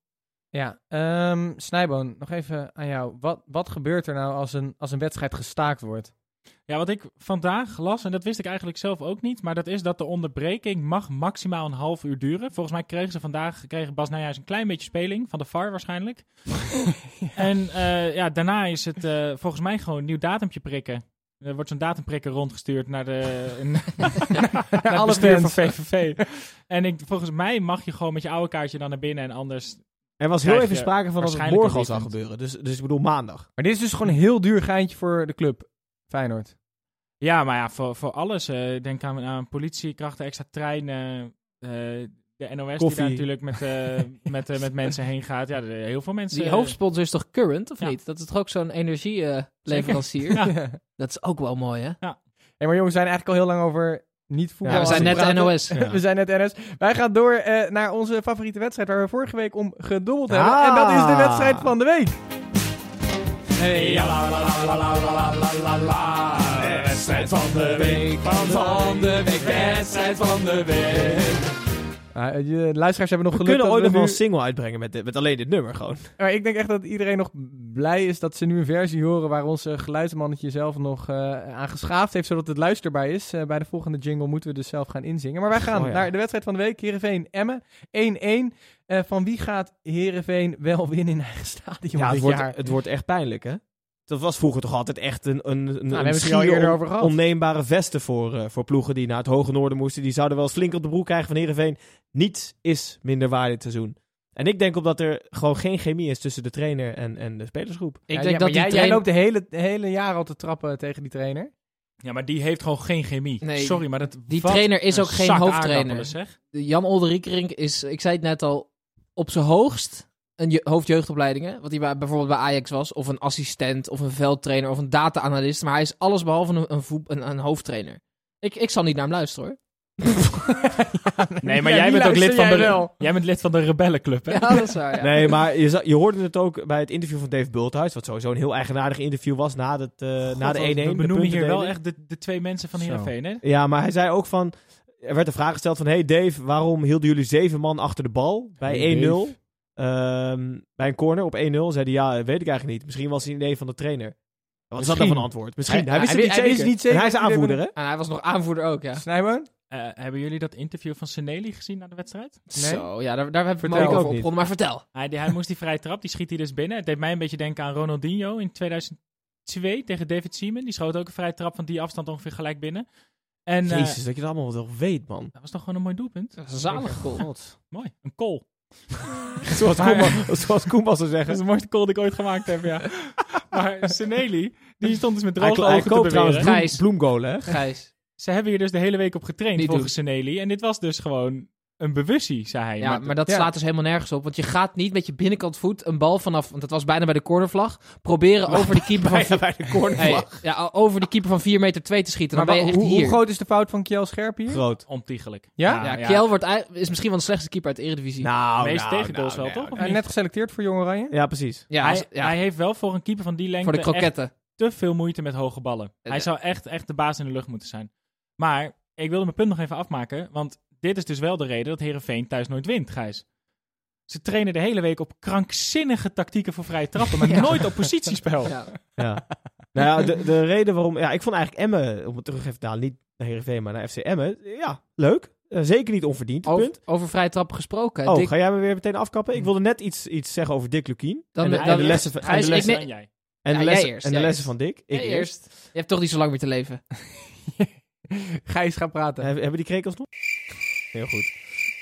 Ja, ehm Snijboon, nog even aan jou. Wat, wat gebeurt er nou als een, als een wedstrijd gestaakt wordt? Ja, wat ik vandaag las, en dat wist ik eigenlijk zelf ook niet, maar dat is dat de onderbreking mag maximaal een half uur duren. Volgens mij kregen ze vandaag, kregen Bas Nijhuis een klein beetje speling, van de VAR waarschijnlijk. En eh, ja, daarna is het eh, volgens mij gewoon een nieuw datumpje prikken. Er wordt zo'n datumprikker rondgestuurd naar *laughs* de naar het alle bestuur van fans. VVV. En ik, volgens mij mag je gewoon met je oude kaartje dan naar binnen en anders... Er was heel Krijg even je sprake van dat het waarschijnlijk morgen al een zou weekend. gebeuren. Dus, dus ik bedoel maandag. Maar dit is dus gewoon een heel duur geintje voor de club, Feyenoord. *laughs* Ja, maar ja, voor, voor alles. eh, denk aan, aan politiekrachten, extra treinen, eh, de NOS die Koffie. daar natuurlijk met, *laughs* eh, met, eh, met mensen heen gaat. Ja, er- heel veel mensen... Die eh, hoofdsponsor is toch Current, of Ja. niet? Dat is toch ook zo'n energieleverancier? Ja. Dat is ook wel mooi, hè? Hey, maar jongens, we zijn eigenlijk al heel lang over niet voetbal. Ja, we zijn aan het net praten. *laughs* NOS. Ja. We zijn net NS. Wij gaan door eh, naar onze favoriete wedstrijd waar we vorige week om gedobbeld hebben. Ah. En dat is de wedstrijd van de week. Hey, Wedstrijd van de week, van de week, wedstrijd van de week. Ah, eh, de luisteraars hebben nog We geluk kunnen dat ooit nog wel nu- een single uitbrengen met, dit- met alleen dit nummer gewoon. Maar ik denk echt dat iedereen nog blij is dat ze nu een versie horen waar onze geluidsmannetje zelf nog eh aan geschaafd heeft, zodat het luisterbaar is. Eh, bij de volgende jingle moeten we dus zelf gaan inzingen. Maar wij gaan Oh ja. naar de wedstrijd van de week. Heerenveen Emmen 1-1. Eh, van wie gaat Heerenveen wel winnen in eigen stadion Ja, het dit wordt, jaar? het wordt echt pijnlijk, hè? Dat was vroeger toch altijd echt een, een, een, Nou, we een hebben het hier al schier eerder on- over gehad. onneembare vesten voor, eh, voor ploegen die naar het hoge noorden moesten. Die zouden wel eens flink op de broek krijgen van Heerenveen. Niets is minder waar dit seizoen. En ik denk omdat er gewoon geen chemie is tussen de trainer en, en de spelersgroep. Ik Ja, denk ja, dat maar die jij, jij trainer- loopt de hele, de hele jaar al te trappen tegen die trainer. Ja, maar die heeft gewoon geen chemie. Nee, Sorry, maar dat die wat trainer is een ook geen zak hoofdtrainer. aardappelen, *laughs* Zeg. Jan Olderiekerink is, ik zei het net al, op zijn hoogst een je- hoofdjeugdopleidingen. Wat hij bij- bijvoorbeeld bij Ajax was. Of een assistent, of een veldtrainer, of een data-analyst. Maar hij is allesbehalve een, een, voet- een, een hoofdtrainer. Ik, ik zal niet naar hem luisteren hoor. Nee, maar Ja, jij die bent ook lid luister van jij de wel. jij bent lid van de rebellenclub, hè? Ja, dat is waar. ja. Nee, maar je, za- je hoorde het ook bij het interview van Dave Bulthuis. Wat sowieso een heel eigenaardig interview was na, het, eh, na de 1-1. We de benoemen hier wel puntendeling. echt de, de twee mensen van Zo. Heerenveen, hè? Ja, maar hij zei ook van... Er werd de vraag gesteld van... Hey Dave, waarom hielden jullie zeven man achter de bal bij Hey 1-0? Dave. Ehm, bij een corner op 1-0 zei hij... Ja, weet ik eigenlijk niet. Misschien was het een idee van de trainer. Wat is dat dan Misschien. van antwoord? Misschien. Hij- Hij, wist hij het niet wi- hij zeker. wist niet zeker En hij is dat jullie aanvoerder, hè? En hij was nog aanvoerder ook, ja. Snijboon? Eh, hebben jullie dat interview van Seneli gezien na de wedstrijd? Nee. Zo, ja, daar, daar heb ik me Vertel. ook Ik over ook niet. opgewonden. Maar vertel. Hij, die- hij moest die vrije trap, die schiet hij dus binnen. Het deed mij een beetje denken aan Ronaldinho in 2002 tegen David Seaman. Die schoot ook een vrije trap van die afstand ongeveer gelijk binnen. En eh, Jezus, dat je dat allemaal wel weet, man. dat was toch gewoon een mooi doelpunt? Dat is een zalig goal. Mooi, een goal. Zoals Koeman, *laughs* zoals Koeman Dat is zou zeggen. de mooiste goal die ik ooit gemaakt heb, ja. *laughs* maar Seneli, die stond dus met Hij, droge hij ogen te koopt trouwens beweren. bloem, Gijs. bloemgolen, *laughs* hè? Gijs. Ze hebben hier dus de hele week op getraind Niet volgens Seneli. En dit was dus gewoon een bewustie, zei hij. Ja, Maar- maar dat ja. slaat dus helemaal nergens op. Want je gaat niet met je binnenkant voet een bal vanaf... Want dat was bijna bij de cornervlag. Proberen over de keeper van... Bijna bij de Hey, cornervlag. ja, over die keeper van 4 meter 2 te schieten. Dan Maar ben wa- je echt hoe, hoe hier. groot is de fout van Kjell Scherp hier? Groot. Ontiegelijk. Ja? ja, Kjell wordt, ei- is misschien wel de slechtste keeper uit de Eredivisie. Nou, De meeste nou, tegengoals nou, wel, nou, toch? Eh, net geselecteerd voor Jong Oranje. *laughs* Ja, precies. ja, als- hij, ja, hij heeft wel voor een keeper van die lengte voor de echt kroketten. te veel moeite met hoge ballen. Hij Eh, zou echt, echt de baas in de lucht moeten zijn. Maar ik wilde mijn punt nog even afmaken. Want dit is dus wel de reden dat Herenveen thuis nooit wint, Gijs. Ze trainen de hele week op krankzinnige tactieken voor vrije trappen, maar nooit op positiespel. Ja. Ja. nou *laughs* ja, de, de reden waarom... Ja, ik vond eigenlijk Emmen, om het terug even te halen, niet naar Heerenveen, maar naar FC Emmen. Ja, leuk. Eh, zeker niet onverdiend, het Over, punt. over vrije trappen gesproken. Oh, Oh, Dick- Hmm. ga jij me weer meteen afkappen? Ik wilde net iets, iets zeggen over Dick Lukien. dan, en de- dan- en de lessen van- en Gijs, de ik lessen- neem- En jij. En Ja, jij de lessen, eerst, en de jij lessen van Dick. Ik Jij eerst. Je hebt toch niet zo lang meer te leven. Gijs gaat praten. Heb- Hebben die krekels nog? Heel goed.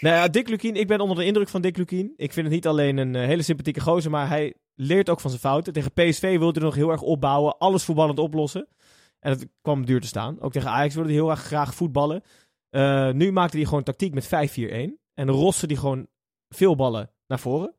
Nou ja, Dick Lukien. Ik ben onder de indruk van Dick Lukien. Ik vind het niet alleen een eh, hele sympathieke gozer, maar hij leert ook van zijn fouten. Tegen PSV wilde hij nog heel erg opbouwen, alles voetballend oplossen. En dat kwam duur te staan. Ook tegen Ajax wilde hij heel erg graag voetballen. Eh, nu maakte hij gewoon tactiek met 5-4-1. En roste hij gewoon veel ballen naar voren.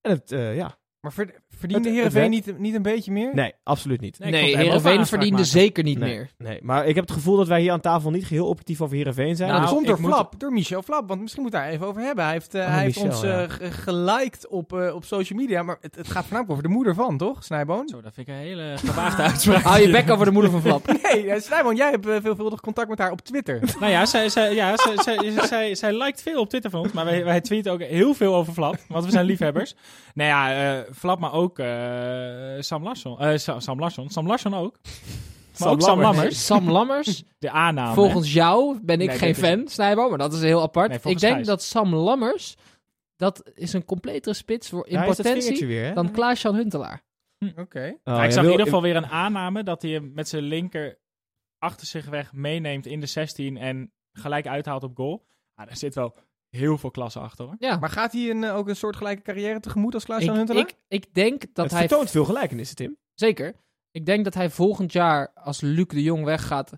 En het, eh, ja, Maar verd- verdiende Het- het Heerenveen werkt. niet, niet een beetje meer? nee, absoluut niet. ik vond Nee, hem wel Heerenveen aanspraak verdiende maken. zeker niet Nee. meer. Nee, maar ik heb het gevoel dat wij hier aan tafel niet geheel objectief over Heerenveen zijn. Dus Nou, Nou, dat komt ik door moet- Flap, door Michel Flap. Want misschien moet daar even over hebben. Hij heeft, eh, Oh, hij heeft Michel, ons ja. eh, ge- geliked op, eh, op social media. Maar het, het gaat voornamelijk over de moeder van, toch? *laughs* Snijboon? Zo, dat vind ik een hele gewaagde uitspraak. Hou je bek over de moeder van *laughs* Flap. Nee, eh, Snijboon, jij hebt eh, veelvuldig contact met haar op Twitter. Nou ja, zij, zij, ja zij, zij, zij, zij, zij liked veel op Twitter van ons, maar wij, wij tweeten ook heel veel over Flap, want we zijn liefhebbers. Nou ja, eh, Flap, maar ook eh, Sam Larsson. eh, Sa- Sam Larsson. Sam Larsson ook. Maar Sam ook Sam Lammers. Lammers. Sam Lammers, De aanname. volgens jou ben ik Nee, geen dit is- fan, Snijbo, maar dat is heel apart. Nee, ik volgens denk Gijs. dat Sam Lammers, dat is een completere spits voor, in Daar is dat vingertje potentie weer, hè? dan Klaas-Jan Huntelaar. Oké. Oh, Nou, ik jij zag in wil- ieder geval weer een aanname dat hij hem met zijn linker achter zich weg meeneemt in de 16 en gelijk uithaalt op goal. Ah, daar zit wel heel veel klasse achter hoor. Ja, Maar gaat hij een, eh, ook een soortgelijke carrière tegemoet als Klaas-Jan ik, Huntelaar? ik, ik denk dat Het hij... vertoont veel gelijkenissen, Tim. Zeker. Ik denk dat hij volgend jaar, als Luc de Jong weggaat...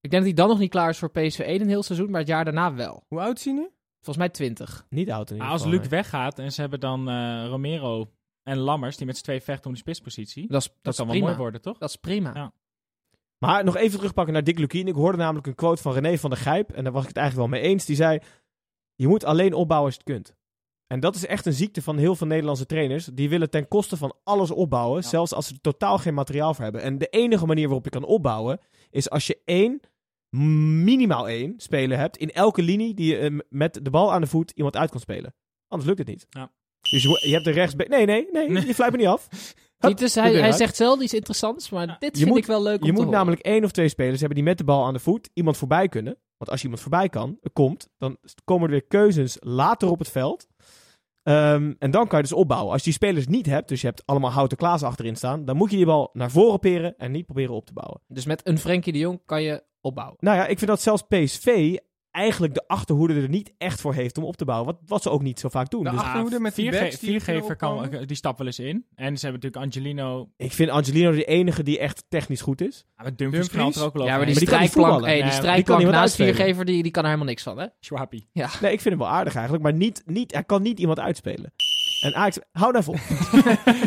Ik denk dat hij dan nog niet klaar is voor PSV 1 een heel seizoen, maar het jaar daarna wel. Hoe oud is hij *laughs* nu? Volgens mij 20. Niet oud in ieder Ah, als geval, Luc nee. weggaat en ze hebben dan eh, Romero en Lammers, die met z'n twee vechten om die spitspositie. Dat is, dat Dat is kan wel prima. mooi worden, toch? Dat is prima. Ja. Maar nog even terugpakken naar Dick Lukien. Ik hoorde namelijk een quote van René van der Gijp. En daar was ik het eigenlijk wel mee eens. Die zei, je moet alleen opbouwen als je het kunt. En dat is echt een ziekte van heel veel Nederlandse trainers. Die willen ten koste van alles opbouwen. Ja. Zelfs als ze er totaal geen materiaal voor hebben. En de enige manier waarop je kan opbouwen... is als je één, minimaal één speler hebt... in elke linie die je eh, met de bal aan de voet iemand uit kan spelen. Anders lukt het niet. Ja. Dus je, je hebt de rechtsbeen... Nee, nee, nee. Je fluit me niet af. Hup, Titus, de dus, hij, deur hij uit. zegt zelden iets interessants, maar dit je vind moet- ik wel leuk om Je te moet horen. namelijk één of twee spelers hebben die met de bal aan de voet iemand voorbij kunnen. Want als iemand voorbij kan, eh, komt, dan s- komen er weer keuzes later op het veld. Ehm, en dan kan je dus opbouwen. Als je die spelers niet hebt, dus je hebt allemaal houten klaas achterin staan, dan moet je die bal naar voren peren en niet proberen op te bouwen. Dus met een Frenkie de Jong kan je opbouwen. Nou ja, ik vind dat zelfs PSV eigenlijk de achterhoede er niet echt voor heeft om op te bouwen. Wat, wat ze ook niet zo vaak doen. De Dus achterhoede met die backs die viergever erop kan, komen. die stapt wel eens in. En ze hebben natuurlijk Angelino. ik vind Angelino de enige die echt technisch goed is. Ah, maar Dumfries knalt er ook wel Ja, overheen. maar die, die kan niet strijkplank, voetballen. hey, die Nee, strijkplank die kan naast niemand uitspelen. viergever, die, die kan er helemaal niks van, hè? Schwappie. Nee, ik vind hem wel aardig eigenlijk, maar niet, niet, hij kan niet iemand uitspelen. En Ajax, hou nou vol.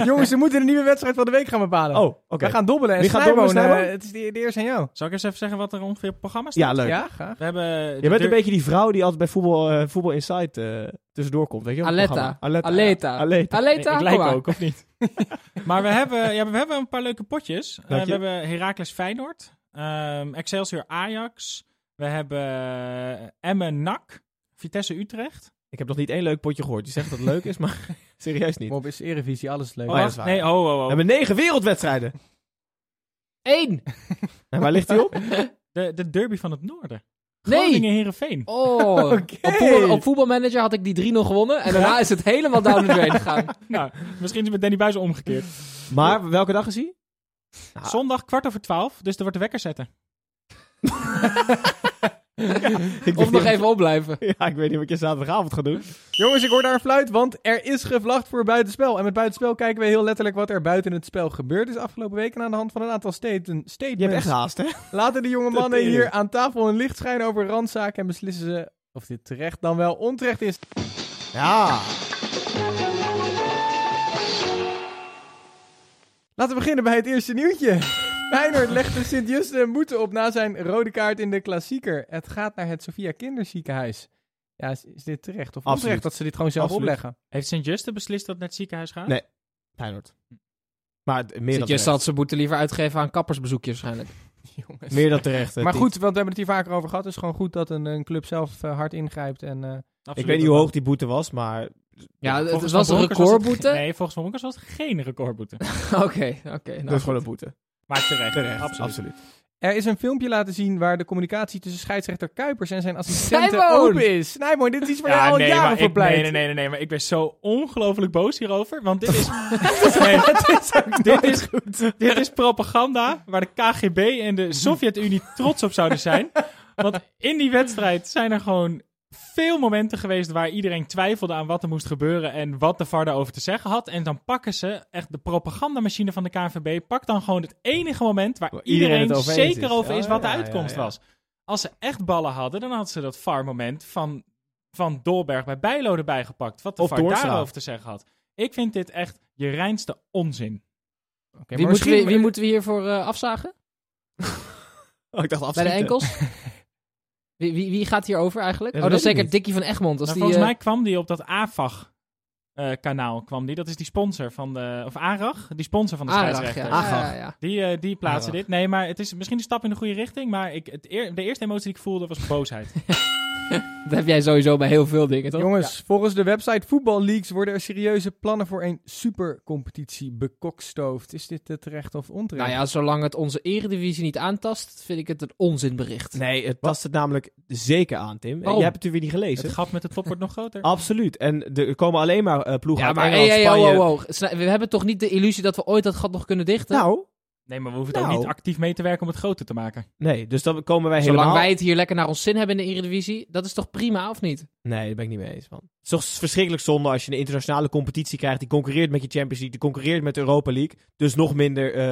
Jongens, we moeten een nieuwe wedstrijd van de week gaan bepalen. Oh, oké. We gaan dobbelen en Wie gaat dobbelen, Snijboon, Snijboon? eh, Het is de, de eerste aan jou. Zal ik eens even zeggen wat er ongeveer op het programma staat? Ja, leuk. Ja, graag. We hebben de Je bent een deur- beetje die vrouw die altijd bij Voetbal, eh, voetbal Insight eh, tussendoor komt. Weet je wel, het Aletta. programma. Aleta. ja. Aleta. Aleta, Ik, ik kom lijk maar. ook, of *laughs* niet? maar we hebben, ja, we hebben een paar leuke potjes. Eh, Dank je. we hebben Heracles Feyenoord, ehm, Excelsior Ajax, we hebben eh, Emmen NAC, Vitesse Utrecht. Ik heb nog niet één leuk potje gehoord. Je zegt dat het leuk is, maar *laughs* serieus niet. Bob is Erevisie, alles leuk. Oh, dat wacht, is waar. nee, oh, We oh, oh. hebben negen wereldwedstrijden. Eén! En waar ligt die *laughs* op? De, de derby van het noorden. Nee! Groningen Herenveen. Oh, op, voetbal, op voetbalmanager had ik die 3-0 gewonnen en daarna is het helemaal down the drain gegaan. *laughs* nou, misschien is het met Danny Buijs omgekeerd. Maar welke dag is die? Ah. Zondag kwart over twaalf, dus er wordt de wekker zetten. Ik Of weet nog niet- even opblijven. *laughs* Ja, ik weet niet wat je zaterdagavond gaat doen. Jongens, ik hoor daar een fluit, want er is gevlacht voor buitenspel. En met buitenspel kijken we heel letterlijk wat er buiten het spel gebeurd is afgelopen weken aan de hand van een aantal staten- Je hebt statements. echt haast, hè? Laten de jonge mannen Tering. hier aan tafel een licht schijnen over randzaken en beslissen ze of dit terecht dan wel onterecht is. Ja. Laten we beginnen bij het eerste nieuwtje. *laughs* Feyenoord legde Sint-Juste een boete op na zijn rode kaart in de klassieker. Het gaat naar het Sofia Kinderziekenhuis. Ja, is, is dit terecht of Absoluut. onterecht dat ze dit gewoon zelf Absoluut. opleggen? Heeft Sint-Juste beslist dat het naar het ziekenhuis gaat? Nee. Feyenoord. Maar d- meer dan Zit je terecht. zal ze boete liever uitgeven aan kappersbezoekjes waarschijnlijk. Jongens. Meer dan terecht. eh, hè, Maar Tiet. goed, want we hebben het hier vaker over gehad. Het is gewoon goed dat een, een club zelf eh, hard ingrijpt. En, eh, Ik Absoluut. weet niet hoe hoog die boete was, maar Ja, het- het Volgens was Van een Bronckhorst was het- recordboete. Nee, volgens Van Bronckhorst was het geen recordboete. Oké, *laughs* oké. nou. dat is gewoon een boete. Maar terecht, Terecht, absoluut. er is een filmpje laten zien waar de communicatie tussen scheidsrechter Kuipers en zijn assistenten Snijboon! open is. Snijboon, dit is iets waar jij al nee, jaren maar voor ik, nee, pleit. nee, nee, nee, nee, maar ik ben zo ongelooflijk boos hierover, want *laughs* dit is, *laughs* Nee, *laughs* dit, is dit is propaganda waar de KGB en de *laughs* Sovjet-Unie trots op zouden zijn. Want in die wedstrijd zijn er gewoon veel momenten geweest waar iedereen twijfelde aan wat er moest gebeuren en wat de VAR daarover te zeggen had. En dan pakken ze, echt de propagandamachine van de KNVB, pakt dan gewoon het enige moment waar Waar iedereen iedereen, het over eens zeker is. over Ja, is wat de ja, ja, uitkomst ja. was. Als ze echt ballen hadden, dan hadden ze dat VAR-moment van, van Dolberg bij Bijlo erbij gepakt. Wat de Of VAR Toornstra. daarover te zeggen had. Ik vind dit echt je reinste onzin. Oké, Wie, maar moeten we, misschien- wie moeten we hiervoor eh, afzagen? Oh, ik dacht Bij de afschieten. enkels? wie, wie, wie gaat hier over eigenlijk? Ja, dat oh, dat is zeker weet ik niet. Dickie van Egmond. Als Maar die, volgens eh, mij kwam die op dat AFAG-kanaal. eh, kwam die. Dat is die sponsor van de... Of ARAG? Die sponsor van de Aardig, scheidsrechter. ja. Ah. Ja, ja, ja. Die, eh, die plaatsen dit. Nee, maar het is misschien een stap in de goede richting. Maar ik, het eer- de eerste emotie die ik voelde was boosheid. Dat heb jij sowieso bij heel veel dingen, toch? Jongens, volgens de website Voetbal Leaks worden er serieuze plannen voor een supercompetitie bekokstoofd. Is dit eh, terecht of onterecht? Nou ja, zolang het onze eredivisie niet aantast, vind ik het een onzinbericht. Nee, het tast het namelijk zeker aan, Tim. En Waarom? Je hebt het natuurlijk weer niet gelezen. het gat met de top wordt nog groter. Ah, Absoluut. En de- er komen alleen maar eh, ploegen Ja, uit maar Engeland, hey, hey, Spanje. wow, wow, wow. Snij- We hebben toch niet de illusie dat we ooit dat gat nog kunnen dichten? Nou, Nee, maar we hoeven het Nou. ook niet actief mee te werken om het groter te maken. nee. Dus dan komen wij zolang helemaal... wij het hier lekker naar ons zin hebben in de eredivisie, dat is toch prima, of niet? Nee, daar ben ik niet mee eens, man. Het is toch verschrikkelijk zonde als je een internationale competitie krijgt... die concurreert met je Champions League, die concurreert met de Europa League. Dus nog minder, eh,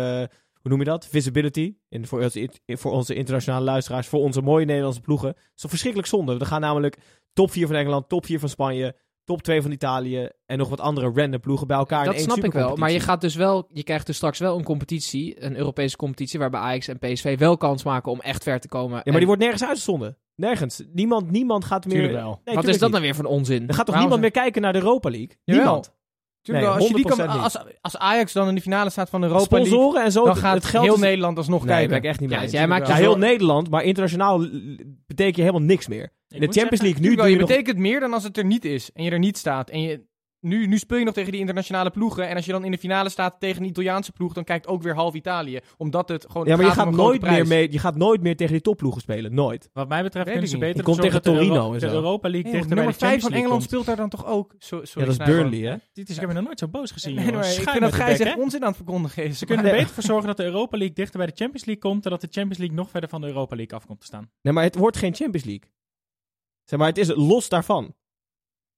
hoe noem je dat? Visibility. En voor, ons- voor onze internationale luisteraars, voor onze mooie Nederlandse ploegen. Het is toch verschrikkelijk zonde. Er gaan namelijk top 4 van Engeland, top 4 van Spanje... top 2 van Italië en nog wat andere random ploegen bij elkaar in Dat één snap ik wel. Maar je supercompetitie. gaat dus wel, je krijgt dus straks wel een competitie, een Europese competitie, waarbij Ajax en PSV wel kans maken om echt ver te komen. Ja, maar die wordt nergens uitgezonden. Nergens. Niemand, niemand gaat meer... Tuurlijk wel. Nee, Wat is tuurlijk dat niet. nou weer voor een onzin? Er gaat toch Waarom- niemand meer kijken naar de Europa League? Jawel. Niemand. Tuurlijk wel, Nee, als, je die kan, 100% als, als Ajax dan in de finale staat van Europa League, Sponsoren en zo. dan gaat het geld heel is- Nederland alsnog Nee, eh, daar ben kijken. ik echt niet Ja, mee eens. jij maakt Ja, dus heel wel- Nederland, maar internationaal l- l- betekent je helemaal niks meer. In de moet Champions zeggen, League nu Tuurlijk wel, doe je je nog- betekent meer dan als het er niet is en je er niet staat. En je, nu, nu speel je nog tegen die internationale ploegen. En als je dan in de finale staat tegen een Italiaanse ploeg, dan kijkt ook weer half Italië. Omdat het gewoon. Ja, maar je het om een gaat, grote nooit meer prijs. mee, je gaat nooit meer tegen die topploegen spelen. Nooit. Wat mij Weet betreft kunnen ik ze niet. beter Die komt ervoor zorgen tegen dat de Torino Euro- en zo. De Europa League Nee, dichter bij de nummer 5 Champions van League Engeland komt. speelt daar dan toch ook. Zo, sorry, Ja, dat is Snijboon. Burnley, hè? Dit is, ik heb hem nog nooit zo boos gezien. Nee, maar jongens. ik Schuim vind met dat de Gijs bek, echt hè? onzin aan het verkondigen is. Ze kunnen *laughs* Nee. er beter voor zorgen dat de Europa League dichter bij de Champions League komt... dan dat de Champions League nog verder van de Europa League af komt te staan. Nee, maar het wordt geen Champions League. Zeg maar, het is los daarvan.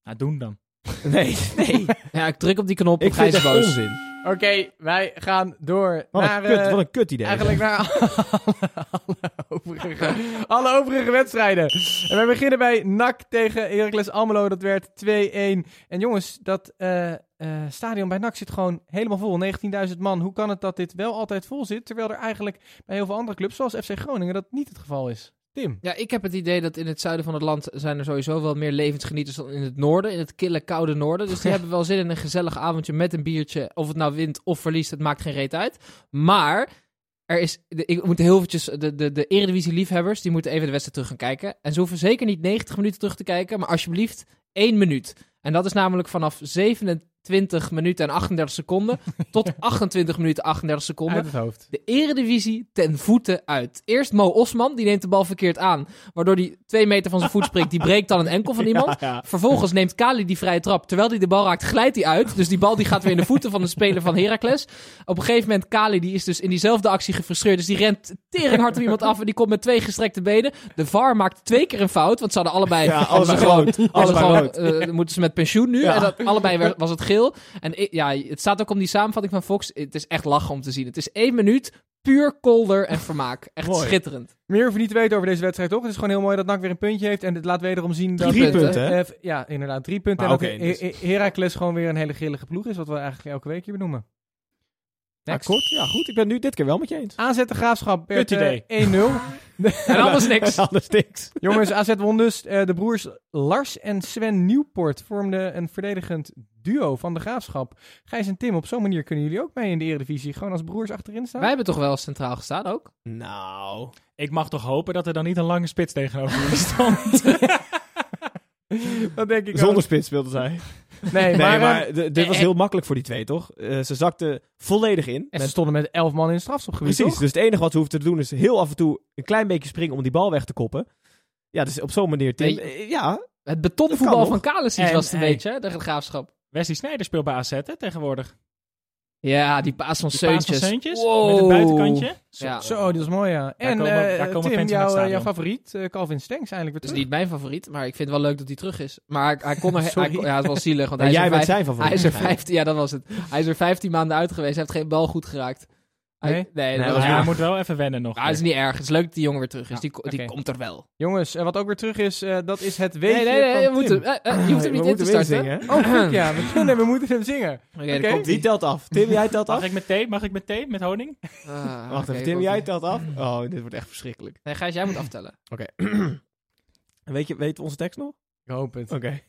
Nou, doen dan. Nee, nee. Ja, ik druk op die knop. ik ga vind je het boos. onzin. Oké, wij gaan door Wat een, naar. kut, eh, wat een kut idee. Eigenlijk naar alle, alle overige, alle overige wedstrijden. En wij beginnen bij NAC tegen Heracles Almelo. Dat werd 2-1. En jongens, dat eh, eh, stadion bij NAC zit gewoon helemaal vol. 19.000 man. Hoe kan het dat dit wel altijd vol zit, terwijl er eigenlijk bij heel veel andere clubs, zoals FC Groningen, dat niet het geval is? Tim. Ja, ik heb het idee dat in het zuiden van het land zijn er sowieso wel meer levensgenieters dan in het noorden. In het kille, koude noorden. Dus die hebben wel zin in een gezellig avondje met een biertje. Of het nou wint of verliest, het maakt geen reet uit. Maar er is, de- ik moet heel eventjes, de, de, de Eredivisie-liefhebbers, die moeten even de wedstrijd terug gaan kijken. En ze hoeven zeker niet 90 minuten terug te kijken, maar alsjeblieft één minuut. En dat is namelijk vanaf 27 minuten en 38 seconden tot 28 minuten 38 seconden. het hoofd. De eredivisie ten voeten uit. Eerst Mo Osman, die neemt de bal verkeerd aan. Waardoor hij twee meter van zijn voet springt. Die breekt dan een enkel van iemand. Vervolgens neemt Kali die vrije trap. Terwijl hij de bal raakt, glijdt hij uit. Dus die bal die gaat weer in de voeten van de speler van Heracles. Op een gegeven moment, Kali die is dus in diezelfde actie gefrustreerd. Dus die rent tering hard op iemand af. En die komt met twee gestrekte benen. De VAR maakt twee keer een fout. Want ze hadden allebei... Ja, hadden ze allebei gewoon- rood. hadden ze Allebei gewoon, eh, moeten ze met pensioen nu. Ja. En dat, allebei werd- was het geel. En i- ja, het staat ook om die samenvatting van Fox. Het is echt lachen om te zien. Het is één minuut puur kolder en vermaak. Echt Mooi. schitterend. Meer hoeven we niet te weten over deze wedstrijd, toch? Het is gewoon heel mooi dat NAC weer een puntje heeft. En dit laat wederom zien dat... Drie punten. punten, hè? Eh, ja, inderdaad, drie punten. Maar en dat oké, dus- He- He- Heracles gewoon weer een hele grillige ploeg is, wat we eigenlijk elke week hier benoemen. Akkoord. Ja, goed. Ik ben nu dit keer wel met je eens. AZ de Graafschap werd Kut idee. eh, 1-0. En *laughs* anders niks. Anders niks. Jongens, AZ won dus. Eh, de broers Lars en Sven Nieuwpoort vormden een verdedigend duo van de Graafschap. Gijs en Tim, op zo'n manier kunnen jullie ook mee in de Eredivisie. Gewoon als broers achterin staan. Wij hebben toch wel centraal gestaan ook? Nou. Ik mag toch hopen dat er dan niet een lange spits tegenover jullie *laughs* stond. *laughs* Dat denk ik Zonder spits speelden zij. ook. Nee, Nee, maar... maar, eh, ehm, d- dit was heel makkelijk voor die twee, toch? Eh, ze zakten volledig in. en Met- ze stonden met elf man in het strafschopgebied, Precies, toch? dus het enige wat ze hoefden te doen is heel af en toe een klein beetje springen om die bal weg te koppen. Ja, dus op zo'n manier, Tim. Nee. eh, Ja, Het Dat kan betonvoetbal nog. van Kalesic En, was het een hey. beetje, hè, de graafschap. Wesley Sneijder speelt bij AZ hè, tegenwoordig. Ja, die paas van Die paas van Seuntjes. Seuntjes, Wow. Met een buitenkantje. Zo. Ja. Zo, die was mooi, ja. En komen- eh, daar Tim, komen fans in het jouw, eh, stadion. jouw favoriet, eh, Calvin Stengs, eindelijk Dat weer is terug. niet mijn favoriet, maar ik vind het wel leuk dat hij terug is. Maar hij, hij kon er... hij Sorry. kon- ja, het was zielig, want hij maar is, jij er bent vijf- zijn favoriet. hij is er 15... Ja, dat was het. Hij is er 15 maanden uit geweest. Hij heeft geen bal goed geraakt. Hij- Nee? nee, dat Nee, was Ja, weer- hij moet wel even wennen nog. Maar het is niet erg. Het is leuk dat die jongen weer terug is. Ja, die, ko- die oké. komt er wel. Jongens, eh, wat ook weer terug is, eh, dat is het weetje nee, nee, nee. Je, van moet Tim. hem, eh, eh, je hoeft hem niet in te starten. Oké, Zingen. Oh, goed, *clears throat* ja. We, kunnen, we moeten hem zingen. daar Oké. komt Die telt af. *laughs* Tim, jij telt af? Mag ik met thee? Mag ik met thee? Met honing? Ah, Wacht even, Tim, jij telt *laughs* af? Oh, dit wordt echt verschrikkelijk. Nee, Gijs, jij moet aftellen. Oké. weet je weet onze tekst nog? Ik hoop het. Oké. *laughs*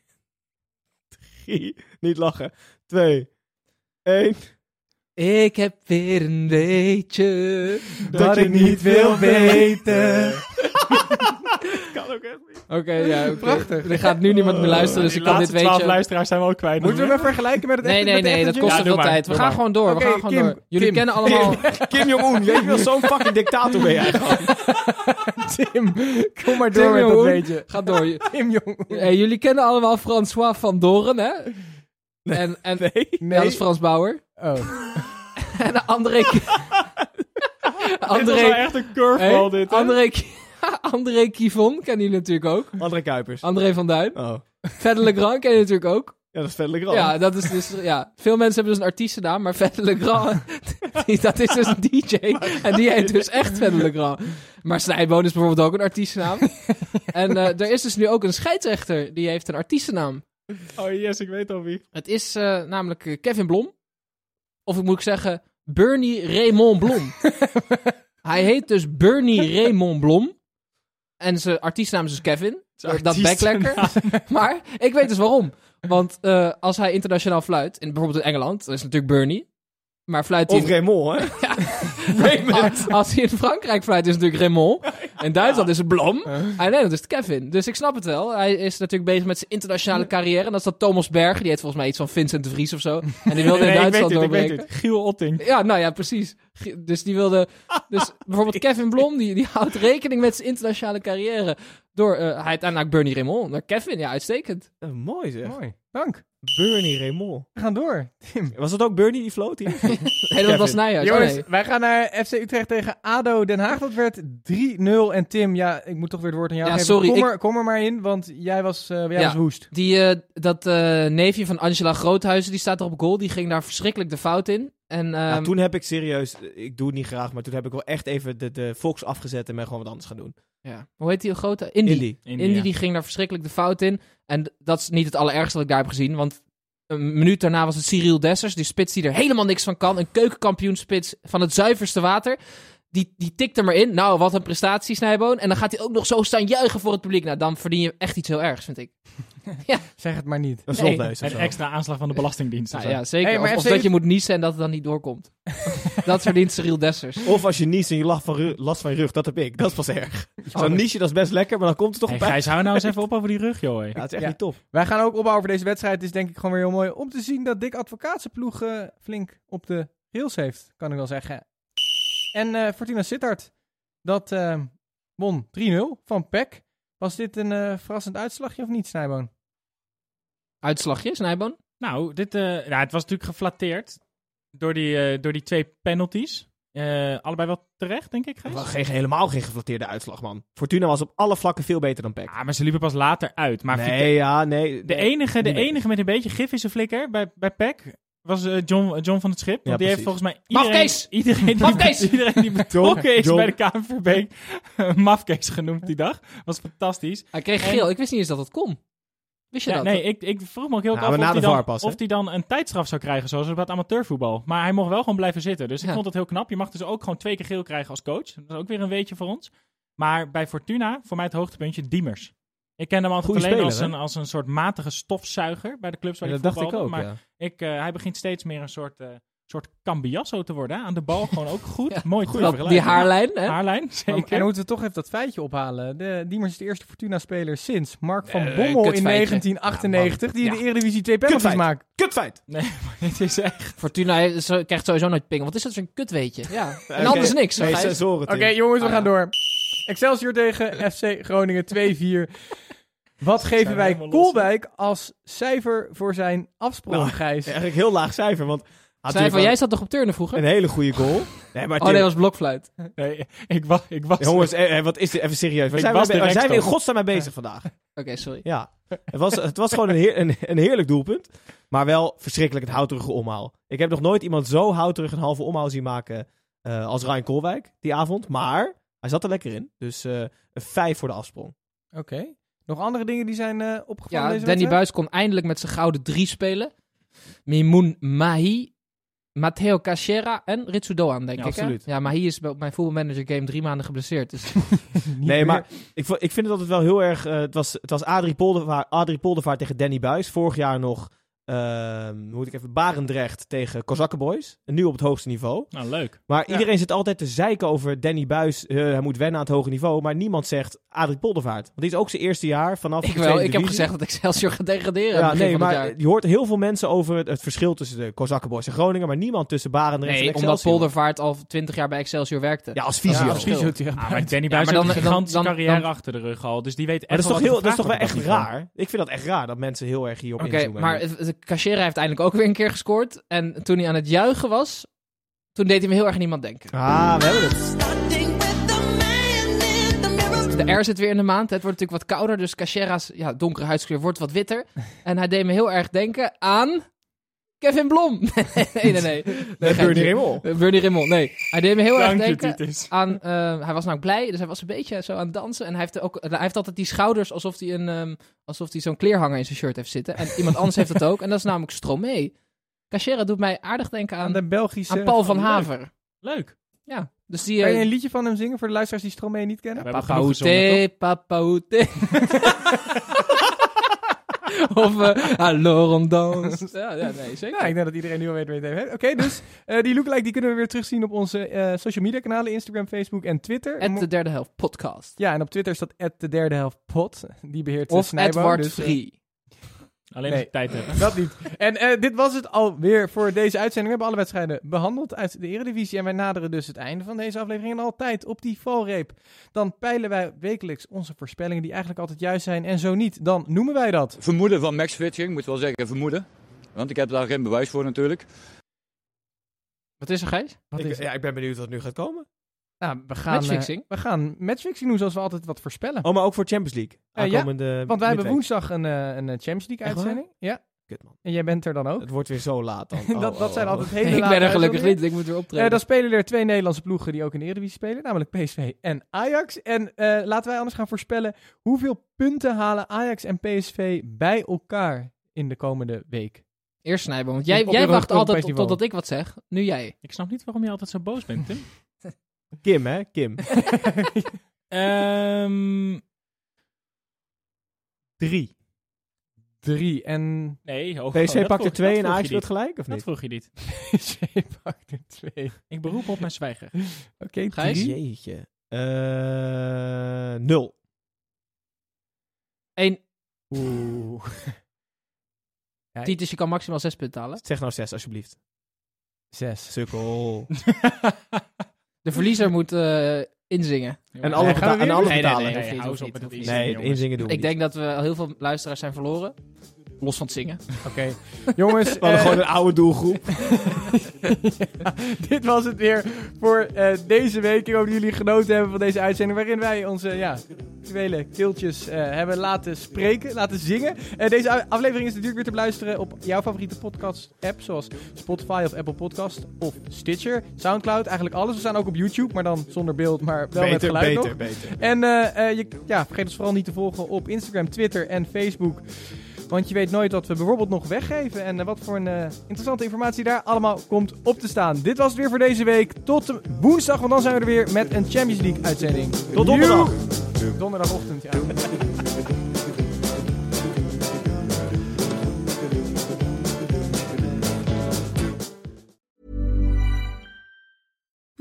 Drie, niet lachen. Twee, één. Ik heb weer een beetje. Dat, je niet wil weten. *laughs* kan ook echt niet. Oké, ja, oké. Prachtig. Er gaat nu niemand meer luisteren, dus Die ik kan dit laatste twaalf weetje... luisteraars zijn we ook kwijt. Moeten we hem vergelijken met het Nee, echte- nee, met de nee, echte dat kost Ja, te doe veel maar, tijd. We doe gaan maar. gewoon door, we Oké, gaan gewoon Kim, door. Jullie Kim. kennen allemaal... Kim Jong-un, weet je wel, zo'n fucking dictator ben jij Oh, gewoon. Tim, kom maar Tim door met dat Jong-un. beetje. Ga door. J- Tim Jong. eh, jullie kennen allemaal François van Doren, hè? En, en, Ja, dat is Frans Bauer. Oh. En André... Dit is wel André... echt een curveball Hey, dit. hè? André, Ki- *laughs* André Kivon kennen jullie natuurlijk ook. André Kuipers. André van Duin. Oh. Fedde Legrand ken je natuurlijk ook. Ja, dat is verder Legrand. Ja, dat is dus, ja, veel mensen hebben dus een artiestennaam, maar Fedde Legrand, *laughs* die- dat is dus een DJ. *laughs* En die heet dus echt Fedde Legrand. Maar *laughs* Snijboon is bijvoorbeeld ook een artiestennaam. En eh, er is dus nu ook een scheidsrechter, die heeft een artiestennaam. Oh yes, ik weet al wie. Het is eh, namelijk eh, Kevin Blom. Of ik moet ik zeggen, Bernie Raymond *laughs* Blom. Hij heet dus Bernie Raymond Blom. En zijn artiestnaam is dus Kevin. Dat bek lekker. *laughs* maar ik weet dus waarom. Want eh, als hij internationaal fluit, in, bijvoorbeeld in Engeland, dan is het natuurlijk Bernie. Maar fluit hij Of in- Raymond, hè? als, als hij in Frankrijk fluit, is het natuurlijk *laughs* Raymond. In Duitsland is het Blom. En in Nederland is het Kevin. Dus ik snap het wel. Hij is natuurlijk bezig met zijn internationale carrière. En dat is dat Thomas Berg. Die heet volgens mij iets van Vincent de Vries of zo. En *laughs* die wilde in ik weet Duitsland het, ik weet doorbreken. het. Giel Otting. Ja, nou ja, precies. G- Dus die *laughs* wilde... Dus bijvoorbeeld Kevin Blom, die, die houdt rekening met zijn internationale carrière. Door, eh, hij uiteindelijk Bernie Raymond. Naar Kevin, ja, uitstekend. Eh, mooi zeg. Mooi. Dank. Bernie Raymond. We gaan door. Tim. Was dat ook Bernie die floot hier? Nee, dat was Kevin. Nijhuis. Oh, Jongens, nee. wij gaan naar FC Utrecht tegen ADO Den Haag. Dat werd 3-0. En Tim, ja, ik moet toch weer het woord aan jou Ja, geven. sorry, Kom, ik- er, kom er maar in, want jij was, eh, jij Ja. was woest. Die, eh, dat eh, neefje van Angela Groothuizen, die staat er op goal. Die ging daar verschrikkelijk de fout in. En, Ja, ehm, Nou, toen heb ik serieus, ik doe het niet graag, maar toen heb ik wel echt even de, de Fox afgezet en ben gewoon wat anders gaan doen. Ja. Hoe heet die grote? Indy. Indy, Indy. die ging daar verschrikkelijk de fout in. En d- dat is niet het allerergste dat ik daar heb gezien. Want een minuut daarna was het Cyril Dessers. Die spits die er helemaal niks van kan. Een keukenkampioenspits van het zuiverste water. Die, die tikt er maar in. Nou, wat een prestatie, Snijboon. En dan gaat hij ook nog zo staan juichen voor het publiek. Nou, dan verdien je echt iets heel ergs, vind ik. Zeg het maar niet. Dat is Nee. rotneus of Een zo. extra aanslag van de Belastingdienst. of Nou, zo. ja, zeker. Hey, maar of of FC dat je moet niezen en dat het dan niet doorkomt. dat verdient Cyril Dessers. Of als je niest en je lacht van ru- last van je rug, dat heb ik. Dat is pas erg. Zo'n niesje, dat is best lekker, maar dan komt het toch Hey, bij. Gijs, hou nou eens *laughs* even op over die rug, joh. hey. Ja, het is echt Ja. niet tof. Wij gaan ook opbouwen voor deze wedstrijd. Het is denk ik gewoon weer heel mooi om te zien dat Dick Advocaat zijn ploeg eh, flink op de rails heeft, kan ik wel zeggen. En eh Fortuna Sittard, dat eh, won 3-0 van PEC. Was dit een eh, verrassend uitslagje of niet, Snijboon? Uitslagje, Snijboon. Nou, dit, eh, nou, het was natuurlijk geflatteerd door die, eh, door die twee penalties. Eh, allebei wel terecht, denk ik, Gijs? Wel, geen, helemaal geen geflatteerde uitslag, man. Fortuna was op alle vlakken veel beter dan PEC. Ah, maar ze liepen pas later uit. Maar Vite- nee, ja, nee. de, nee. enige, de Nee. enige met een beetje gif in zijn flikker bij, bij Peck was eh, John, John van het Schip. Want Ja, die heeft precies. volgens mij iedereen, Mafkees! iedereen, Mafkees! die, *laughs* iedereen die betrokken is John. bij de KNVB *laughs* mafkees genoemd die dag. was fantastisch. Hij kreeg En- geel. Ik wist niet eens dat dat kon. Wist je Ja, dat? nee, ik, ik vroeg me ook heel Ja, erg maar na af de of hij, Nou, VAR dan, pas, hè? of hij dan een tijdstraf zou krijgen, zoals bij het amateurvoetbal. Maar hij mocht wel gewoon blijven zitten. Dus ik Ja. vond dat heel knap. Je mag dus ook gewoon twee keer geel krijgen als coach. Dat is ook weer een weetje voor ons. Maar bij Fortuna, voor mij het hoogtepuntje, Diemers. Ik ken hem altijd Goeie alleen speler, als, hè? een, als een soort matige stofzuiger bij de clubs waar Ja, hij dat dacht ik voetbalde. ook, Maar ja. ik, eh, hij begint steeds meer een soort, eh soort cambiasso te worden. hè. Aan de bal gewoon ook *laughs* goed. Ja. Mooi Dat- die haarlijn, hè? Haarlijn, En zeker. *laughs* dan moeten we toch even dat feitje ophalen. De, Diemers is de eerste Fortuna-speler sinds Mark van Eh, Bommel in kutfeitje. 1998, die in Ja. de Eredivisie twee penalties Kutfeit. maakt. Kutfeit! Nee, maar dit is echt... Fortuna heeft- zo- krijgt sowieso nooit pingel. Wat is dat voor een kutweetje? Ja. *laughs* En Oké. anders niks. Nee, Gijs. sensoren, Oké, Tim. jongens, we Ah, gaan ja. door. Excelsior *laughs* tegen FC Groningen 2-4. Wat geven wij helemaal los, Koolwijk als cijfer voor zijn afsprong, Nou, Gijs? Eigenlijk heel laag cijfer, want... hij had Snijver, natuurlijk jij zat toch op turnen vroeger? Een hele goede goal. Nee, maar oh nee, dat Tim- was blokfluit. Nee, ik, wa ik was... Jongens, eh, eh, wat is dit? Even serieus. Waar Ik zijn, we, was mee- waar direct zijn we in al. godsnaam mee bezig vandaag? Oké, sorry. Ja. Het was, het was gewoon een, heer- een, een heerlijk doelpunt. Maar wel verschrikkelijk het houterige omhaal. Ik heb nog nooit iemand zo houterig een halve omhaal zien maken eh, als Ryan Koolwijk die avond. Maar hij zat er lekker in. Dus eh, een vijf voor de afsprong. Oké. Nog andere dingen die zijn eh opgevallen Ja, deze Danny wedstrijd? Buis kon eindelijk met zijn gouden drie spelen. Mimoun Mahi, Matteo Cachera en Ritsu Doan, denk Ja, ik. hè? absoluut. Ja, Mahi is bij- op mijn voetbalmanager game drie maanden geblesseerd. *laughs* Dus Nee, maar ik, vo- ik vind het altijd wel heel erg... eh, het was, het was Adrie, Poldervaart, Adrie Poldervaart tegen Danny Buis. Vorig jaar nog, eh, hoe moet ik even, Barendrecht tegen Kozakkenboys. En nu op het hoogste niveau. Nou, leuk. Maar Ja. iedereen zit altijd te zeiken over Danny Buis. eh, hij moet wennen aan het hoge niveau. Maar niemand zegt Adrie Poldervaart. Want die is ook zijn eerste jaar vanaf. ik de wel. tweede Ik heb divisie. gezegd dat Excelsior gaat degraderen. aan Ja, het begin nee, van het maar jaar. je hoort heel veel mensen over het, het verschil tussen de Kozakkenboys en Groningen. Maar niemand tussen Barendrecht en Nee, Excelsior. omdat Poldervaart al twintig jaar bij Excelsior werkte. Ja, als fysio. Ja, Ja, als fysio. Ah, maar Danny maar Buijs dan- heeft een dan- gigantische dan- carrière dan- achter de rug al. Dus die weet echt dat is wel toch, wat heel, er dat is toch wel gevraagd echt wordt op dat niveau. raar? Ik vind dat echt raar dat mensen heel erg hierop Oké, inzoomen. maar het- het- Cachera heeft eindelijk ook weer een keer gescoord. En toen hij aan het juichen was, toen deed hij me heel erg aan iemand denken. Ah, we hebben het. Starting with the man in the mirror. De R zit weer in de maand. Het wordt natuurlijk wat kouder. Dus Cachera's ja, donkere huidskleur wordt wat witter. En hij deed me heel erg denken aan Kevin Blom. *laughs* nee, nee, nee. nee Bernie geintje. Rimmel. Eh, Bernie Rimmel, nee. Hij deed me heel erg Dank je, denken Titus. aan... eh, hij was nou blij, dus hij was een beetje zo aan het dansen. En hij heeft, ook, hij heeft altijd die schouders alsof hij, een, ehm, alsof hij zo'n kleerhanger in zijn shirt heeft zitten. En iemand anders heeft dat ook. En dat is namelijk Stromae. Cachera doet mij aardig denken aan, Aan de Belgische... aan Paul van Leuk. Haver. Leuk. Ja, dus die... Kan je eh, een liedje van hem zingen voor de luisteraars die Stromae niet kennen? We hebben Papa genoeg gezongen, toch? Oete, Papa Oete. of eh, alors on danse. Ja, ja, nee, zeker. Nou, ik denk dat iedereen nu al weet waar je het over hebt. Oké, dus eh, die lookalike die kunnen we weer terugzien op onze eh, social media kanalen. Instagram, Facebook en Twitter. En At mo- de derde helft podcast. Ja, en op Twitter is dat de derde helft pot. *laughs* Die beheert eh, Of Snijbo, Edward dus, eh, Free. Alleen Nee. als je tijd hebt. dat niet. En eh, dit was het alweer voor deze uitzending. We hebben alle wedstrijden behandeld uit de Eredivisie. En wij naderen dus het einde van deze aflevering. En altijd op die valreep. Dan peilen wij wekelijks onze voorspellingen die eigenlijk altijd juist zijn. En zo niet, dan noemen wij dat. Vermoeden van matchfitting, ik moet wel zeggen vermoeden. Want ik heb daar geen bewijs voor natuurlijk. Wat is er, Gijs? Wat Ik, is er? ja, ik ben benieuwd wat nu gaat komen. Nou, we gaan, Matchfixing? eh, we gaan matchfixing doen zoals we altijd wat voorspellen. Oh, maar ook voor Champions League. Eh, ja, Aankomende Want wij hebben midweek. woensdag een, eh, een eh, Champions League Echt waar? uitzending. Ja, Kut, man. en jij bent er dan ook. Het wordt weer zo laat dan. Oh, dat, oh, dat zijn oh. altijd hele *laughs* ik late ben er gelukkig uitzendingen. niet, ik moet weer Eh, optreden. dan spelen er twee Nederlandse ploegen die ook in de Eredivisie spelen, namelijk PSV en Ajax. En eh, laten wij anders gaan voorspellen hoeveel punten halen Ajax en PSV bij elkaar in de komende week. Eerst snijden, want jij, Op jij Europe wacht altijd Festival. totdat ik wat zeg. Nu jij. Ik snap niet waarom je altijd zo boos bent, *laughs* Tim. oh. Kim, hè? Kim. Ehm, Drie. Drie en... nee, oh, PSV dat pakt vroeg- er twee dat en vroeg Ajax je wordt niet. gelijk, of Dat niet? vroeg je niet. PSV pakt er twee. Oké, Ik beroep op mijn *laughs* zwijger. Gijs? drie. Jeetje. Eh, nul. Eén, Oeh. Nee. Titus, je kan maximaal zes punten halen. Zeg nou zes, alsjeblieft. Zes. Sukkel. De verliezer moet eh, inzingen. En alles Gaan we beta- weer? en alles Nee, nee, betalen. nee, Hoeft nee, niet, hou eens hoeft op niet, met het hoeft niet. inzingen, Nee, het jongens. inzingen doen we Ik niet. denk dat we al heel veel luisteraars zijn verloren. Los van het zingen. Oké. Jongens, We hadden eh, *laughs* gewoon een oude doelgroep. dit was het weer voor eh, deze week. Ik hoop dat jullie genoten hebben van deze uitzending. Waarin wij onze ja, actuele keeltjes eh, hebben laten spreken, laten zingen. Eh, deze a- aflevering is natuurlijk weer te beluisteren op jouw favoriete podcast-app. Zoals Spotify of Apple Podcast of Stitcher, Soundcloud. Eigenlijk alles. We staan ook op YouTube, maar dan zonder beeld, maar wel met Beter, geluid nog. beter, beter. En eh, eh, je, ja, vergeet ons vooral niet te volgen op Instagram, Twitter en Facebook. Want je weet nooit wat we bijvoorbeeld nog weggeven. En eh, wat voor een eh, interessante informatie daar allemaal komt op te staan. Dit was het weer voor deze week. Tot de woensdag, want dan zijn we er weer met een Champions League uitzending. Tot donderdag. Joe! Donderdagochtend, ja.